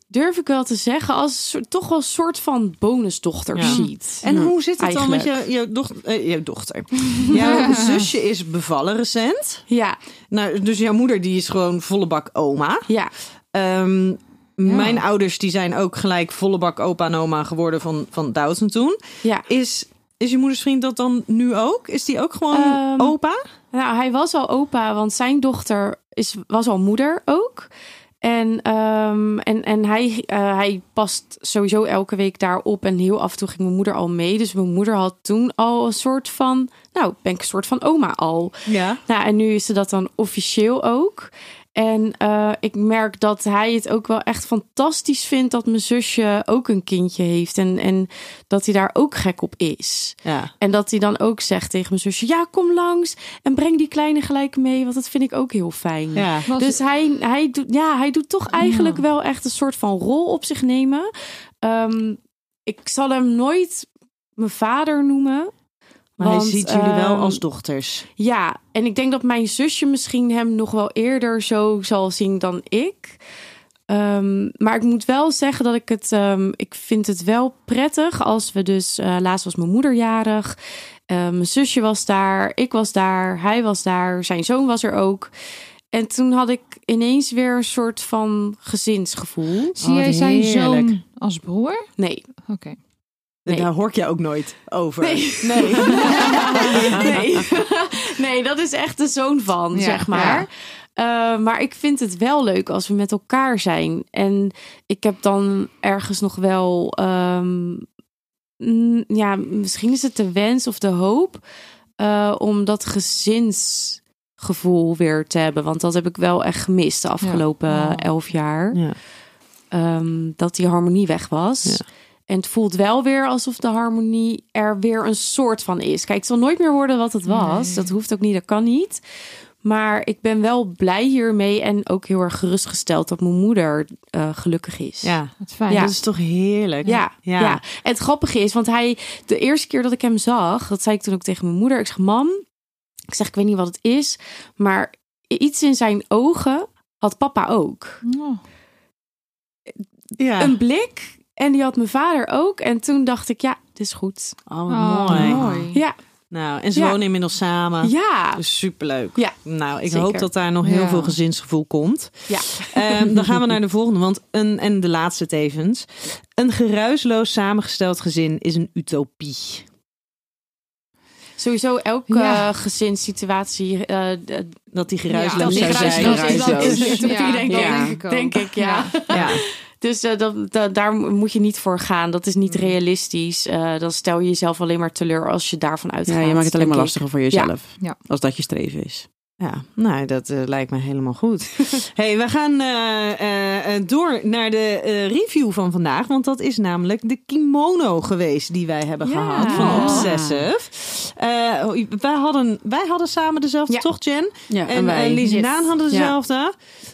D: durf ik wel te zeggen, als een soort- toch wel een soort van bonusdochter
C: Ja.
D: ziet.
C: En hoe zit het dan met
D: Eigenlijk.
C: je, je, doch, eh, je dochter? Jouw zusje is bevallen recent.
D: Ja,
C: Nou, dus jouw moeder die is gewoon volle bak oma.
D: ja.
C: Ehm, Mijn ouders die zijn ook gelijk volle bak opa en oma geworden van, van Doutzen toen.
D: ja.
C: Is, is je moeders vriend dat dan nu ook? Is die ook gewoon
D: Ehm,
C: opa?
D: Nou, hij was al opa, want zijn dochter is, was al moeder ook. En, ehm, en, en hij, eh, hij past sowieso elke week daarop. En heel af en toe ging mijn moeder al mee. Dus mijn moeder had toen al een soort van... Nou, ben ik een soort van oma al.
C: Ja.
D: Nou, en nu is ze dat dan officieel ook. En eh, ik merk dat hij het ook wel echt fantastisch vindt... dat mijn zusje ook een kindje heeft. En, en dat hij daar ook gek op is.
C: ja.
D: En dat hij dan ook zegt tegen mijn zusje: Ja, kom langs en breng die kleine gelijk mee, want dat vind ik ook heel fijn.
C: Ja.
E: Was-
D: Dus hij, hij, doet, ja, hij doet toch eigenlijk wel echt een soort van rol op zich nemen. Ehm, ik zal hem nooit mijn vader noemen.
C: Maar
D: want,
C: hij ziet jullie wel
D: ehm,
C: als dochters.
D: Ja, en ik denk dat mijn zusje misschien hem nog wel eerder zo zal zien dan ik. Ehm, maar ik moet wel zeggen dat ik het. ehm, ik vind het wel prettig als we dus. eh, laatst was mijn moeder jarig. eh, mijn zusje was daar. Ik was daar. Hij was daar. Zijn zoon was er ook. En toen had ik ineens weer een soort van gezinsgevoel.
E: Zie jij
C: Oh, wat
E: zijn
C: heerlijk.
E: zoon als broer?
D: Nee.
E: Oké.
D: Nee.
C: Daar hoor ik je ook nooit over.
D: Nee. Nee. nee. Nee, dat is echt de zoon van,
E: Ja,
D: zeg maar. Eh, maar ik vind het wel leuk als we met elkaar zijn. En ik heb dan ergens nog wel... ehm, mm, ja, misschien is het de wens of de hoop... eh, om dat gezinsgevoel weer te hebben. Want dat heb ik wel echt gemist de afgelopen
E: Ja.
D: elf jaar.
C: Ja.
D: ehm, dat die harmonie weg was.
C: Ja.
D: En het voelt wel weer alsof de harmonie er weer een soort van is. Kijk, het zal nooit meer worden wat het was.
E: Nee.
D: Dat hoeft ook niet, dat kan niet. Maar ik ben wel blij hiermee en ook heel erg gerustgesteld dat mijn moeder eh, gelukkig is.
C: Ja.
E: Wat fijn.
D: Ja.
C: dat is toch heerlijk.
D: Ja,
C: Ja.
D: ja. En het grappige is, want hij, de eerste keer dat ik hem zag, dat zei ik toen ook tegen mijn moeder. Ik zeg, mam, ik zeg, ik weet niet wat het is, maar iets in zijn ogen had papa ook.
E: Oh.
C: Ja.
D: Een blik en die had mijn vader ook. En toen dacht ik, ja, dit is goed.
C: Oh, wat
E: Oh,
C: mooi.
E: mooi.
D: Ja,
C: Nou, en ze
D: Ja.
C: wonen inmiddels samen.
D: ja.
C: Dus superleuk.
D: Ja,
C: Nou, ik
D: zeker.
C: hoop dat daar nog heel
E: Ja.
C: veel gezinsgevoel komt.
D: Ja.
C: Ehm, dan gaan we naar de volgende, want een, en de laatste tevens. Een geruisloos samengesteld gezin is een utopie.
D: Sowieso elke
E: Ja.
D: eh, gezinssituatie, eh, d-
C: Dat die geruisloos
E: Ja,
C: zou
E: dat die
C: zijn.
E: geruisloos is, dat is-
D: Utopie,
E: ja,
D: denk
C: dat
D: ik.
C: denk
E: ik ook.
D: Denk ik, ja.
C: Ja.
D: Dus eh, dat, dat- daar moet je niet voor gaan. Dat is niet
E: Mm.
D: realistisch. Eh, dan stel je jezelf alleen maar teleur als je daarvan uitgaat.
B: Ja, je maakt het alleen maar
D: denk ik.
B: lastiger voor jezelf.
E: Ja.
B: Als dat je streven is.
C: Ja, nou, dat eh, lijkt me helemaal goed. hey, we gaan eh, eh, eh, door naar de eh, review van vandaag. Want dat is namelijk de kimono geweest die wij hebben
D: Ja.
C: gehad van
B: Ja.
C: Obsessive. Eh, wij, hadden, wij hadden samen dezelfde,
D: Ja.
C: toch Jen?
B: Ja,
C: En, en Lies en
E: Yes.
C: Daan hadden
B: Ja.
C: dezelfde.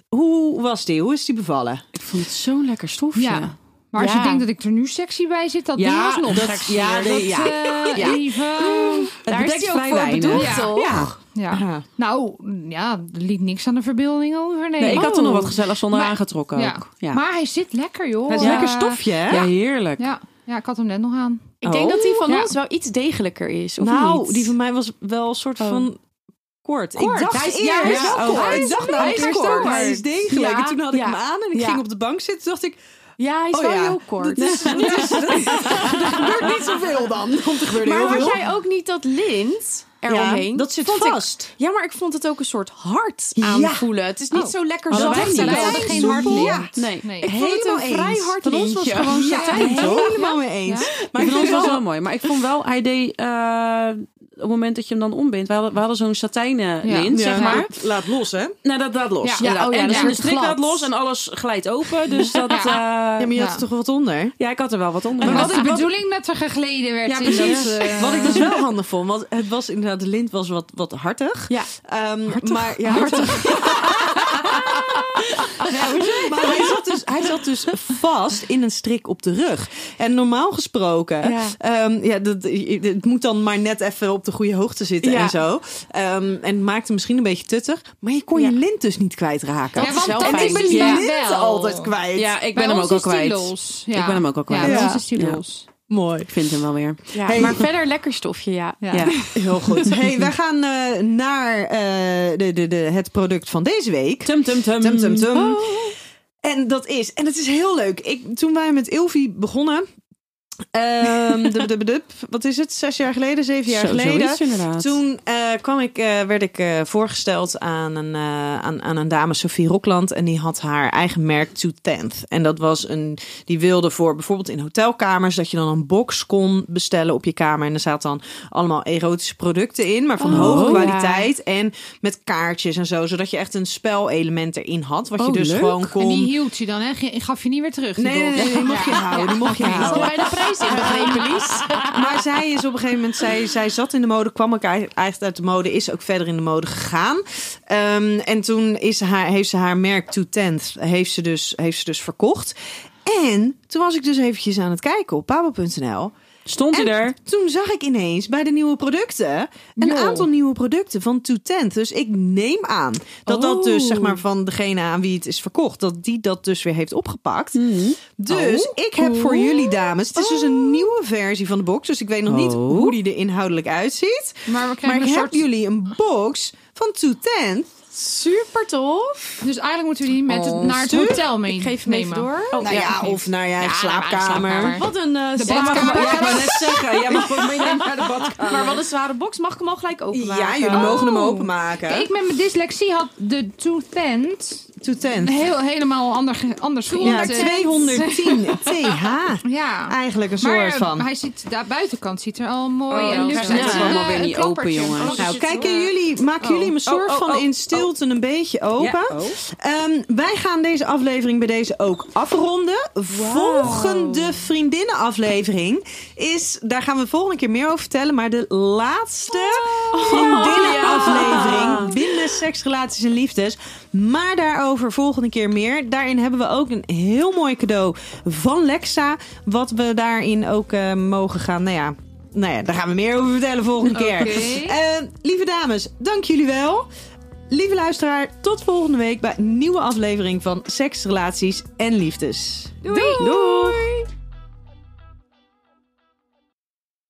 C: Hoe was die? Hoe is die bevallen?
B: ik vond het zo'n lekker stofje.
E: Ja. Maar als
D: Ja.
E: je denkt dat ik er nu sexy bij zit, dat
C: Ja,
E: ding was nog
C: dat- eh,
E: sexy.
C: ja, nee, ja. Ja.
E: even...
D: Daar is
C: bedekt
D: die ook
C: vrij
D: voor
C: weinig.
D: bedoeld,
E: Ja.
D: toch?
C: Ja.
E: Ja.
C: Ja.
E: Nou, ja, er liet niks aan de verbeelding over. Nee,
B: Nee, ik had er nog
E: Oh.
B: wat gezellig zonder
E: Maar-
B: aangetrokken
E: Ja.
B: ook. Ja.
E: Maar hij zit lekker, joh.
C: Het is
E: Ja.
C: lekker stofje, hè?
B: ja, heerlijk.
E: Ja. ja, ik had hem net nog aan.
D: Ik denk dat die van
E: Ja.
D: ons wel iets degelijker is. Of
C: nou,
D: niet?
C: die van mij was wel een soort
D: Oh.
C: van kort.
E: Kort.
C: Ik dacht
E: Hij is-
C: eerst,
E: ja, hij is
B: wel
C: oh,
B: kort.
C: Ik dacht
D: Hij
C: nou
D: is
C: eerst
D: kort.
C: ook, maar hij is degelijk.
D: Ja,
C: En toen had ik
D: ja.
C: hem aan en ik
D: Ja.
C: ging op de bank zitten. Toen dacht ik,
D: Ja, hij is
C: Oh
D: wel
C: ja.
D: heel kort.
C: dat is, dat is, dat is- er gebeurt niet zoveel dan. Want er gebeurde
D: maar
C: heel
D: had
C: veel.
D: jij ook niet dat lint eromheen?
C: ja, dat zit
D: Vond ik-
C: vast.
D: Ja, maar ik vond het ook een soort hart
C: Ja.
D: aanvoelen. Het is niet
E: Oh.
D: zo lekker
B: Hadden
D: zacht.
B: wij niet.
D: en
E: Wij
D: fijn.
E: hadden geen hard
C: soepel.
E: lint.
B: Nee.
E: Nee.
D: Ik vond het een
C: Helemaal
D: vrij
C: eens.
D: hard
B: Van ons
D: lintje.
B: was gewoon
D: Ja.
B: satijn.
C: helemaal mee eens.
B: Maar ik vond het wel wel mooi. Maar ik vond wel, hij deed eh, op het moment dat je hem dan ombindt. We hadden, we hadden zo'n satijnen
E: Ja.
B: lint,
E: Ja.
B: zeg maar.
C: Laat los, hè? Ja,
B: Nou, dat laat los.
E: Ja.
B: inderdaad.
D: Ja, oh ja,
B: en,
D: dus
B: en
D: het
B: de strik
D: glad.
B: laat los en alles glijdt open. Dus dat... eh, Ja,
C: maar je
E: Ja.
C: had er toch wat onder?
B: ik had er wel wat onder.
E: Maar
B: Maar
E: wat
B: wat-
E: de bedoeling dat er gegleden werd.
B: Ja,
E: in dat,
B: precies.
E: eh,
C: Wat ik dus wel handig vond, want het was inderdaad, de lint was wat, wat hartig.
D: Ja.
C: Ehm, Maar, ja, hartig. maar hij zat, dus, hij zat dus vast in een strik op de rug. En normaal gesproken,
D: Ja.
C: ehm, ja, dat, het moet dan maar net even op de goede hoogte zitten
D: Ja.
C: en zo. Ehm, en het maakte misschien een beetje tuttig, maar je kon je
D: Ja.
C: lint dus niet kwijtraken.
E: Ja,
D: is
E: want
D: wel
E: dat
D: fijn.
E: is
C: Ik ben die
E: ja.
C: lint
E: wel.
C: altijd kwijt.
B: ja, ik
E: Bij
B: ben hem ook
E: ons
B: al
E: is die
B: kwijt.
E: los. Ja.
B: Ik ben hem ook al kwijt.
E: Ja, bij
C: Ja.
E: ons is die
B: Ja.
E: los.
C: Mooi.
B: Ik vind hem wel weer.
D: Ja,
C: Hey.
D: Maar verder lekker stofje, ja.
E: Ja.
B: Ja.
C: Heel goed. Hey, wij gaan eh, naar eh, de, de, de, het product van deze week.
B: Tum, tum, tum.
C: Tum, tum, tum. Oh. En dat is, en het is heel leuk. Ik, toen wij met Ilvi begonnen, ehm, dub, dub, dub, wat is het, zes jaar geleden, zeven jaar
B: Zo,
C: geleden.
B: zoiets inderdaad.
C: Toen eh, kwam ik, eh, werd ik eh, voorgesteld aan een, eh, aan, aan een dame, Sophie Rokland. En die had haar eigen merk To Tenth. En dat was een, die wilde voor bijvoorbeeld in hotelkamers dat je dan een box kon bestellen op je kamer. En er zaten dan allemaal erotische producten in, maar van
D: Oh,
C: hoge
D: ja.
C: kwaliteit. En met kaartjes en zo, zodat je echt een spelelement erin had. Wat je
B: Oh,
C: dus
B: leuk.
C: gewoon
E: En
C: kon.
E: die hield je dan, hè? Ge- Gaf je niet weer terug? die
C: Nee, nee,
E: box?
C: nee, nee, die mocht je
E: Ja.
C: houden, die mocht je
E: oké.
C: houden.
D: Bij de prijs inbegrepen, Lies.
C: Maar zij is op een gegeven moment, zij, zij zat in de mode, kwam ook eigenlijk uit de mode, is ook verder in de mode gegaan. Ehm, en toen is haar, heeft ze haar merk To Tenth, heeft ze, dus, heeft ze dus verkocht. En toen was ik dus eventjes aan het kijken op pabo.nl.
B: Stond hij er?
C: En toen zag ik ineens bij de nieuwe producten een
E: Joh.
C: aantal nieuwe producten van To Tenth. Dus ik neem aan dat
E: Oh.
C: dat dus zeg maar van degene aan wie het is verkocht, dat die dat dus weer heeft opgepakt.
E: Mm.
C: Dus
E: Oh,
C: ik heb voor jullie dames, het is dus een nieuwe versie van de box, dus ik weet nog niet
B: Oh.
C: hoe die er inhoudelijk uitziet.
E: Maar we krijgen
C: Maar ik
E: een
C: heb
E: soort...
C: jullie een box van To Tenth
D: super tof.
E: Dus eigenlijk moeten we die met het-
C: Oh,
E: naar het
C: stuur.
E: hotel mee.
D: Ik geef hem even
E: nemen.
D: door.
B: Oh,
C: nou
B: ja.
C: ja, of naar je eigen
E: Ja, naar mijn eigen
C: slaapkamer.
E: slaapkamer.
D: Wat een eh,
E: De
D: zware
E: badkamer.
D: box.
E: Ja, ik wou
C: net zeggen, jij mag ook meenemen naar de
D: Maar
C: badkamer.
D: wat een zware box. Mag ik hem al gelijk openmaken?
C: Ja, jullie mogen hem openmaken.
E: Kijk, Oh. ik met mijn dyslexie had de two tent
C: to ten.
E: heel helemaal ander, ge- anders
C: Ja,
E: geïnteresseerd.
C: 210 TH.
E: Ja.
C: Eigenlijk een
E: Maar eh,
C: soort van.
E: hij ziet, daar buitenkant ziet er al mooi
D: Oh,
E: en
D: ja.
E: luxe uit.
D: Ja,
E: Het is
B: is
D: het
B: allemaal
E: een,
B: weer
E: eh,
B: niet
E: een
B: open,
E: kopertje.
B: jongens.
E: Oh,
C: Nou,
D: zit zo,
C: kijken
D: eh,
C: jullie, maken jullie hem een soort
B: oh,
C: van
B: oh,
C: in stilte een beetje open.
B: Ja, oh.
C: Ehm, wij gaan deze aflevering bij deze ook afronden. Volgende vriendinnenaflevering is, daar gaan we de volgende keer meer over vertellen, maar de laatste vriendinnenaflevering binnen seks, relaties en liefdes. Maar daarover volgende keer meer. Daarin hebben we ook een heel mooi cadeau van Lexa, wat we daarin ook eh, mogen gaan, nou ja. Nou ja, daar gaan we meer over vertellen volgende keer.
E: Oké.
C: Eh, lieve dames, dank jullie wel. Lieve luisteraar, tot volgende week bij een nieuwe aflevering van Seks, Relaties en Liefdes.
E: Doei.
C: Doei.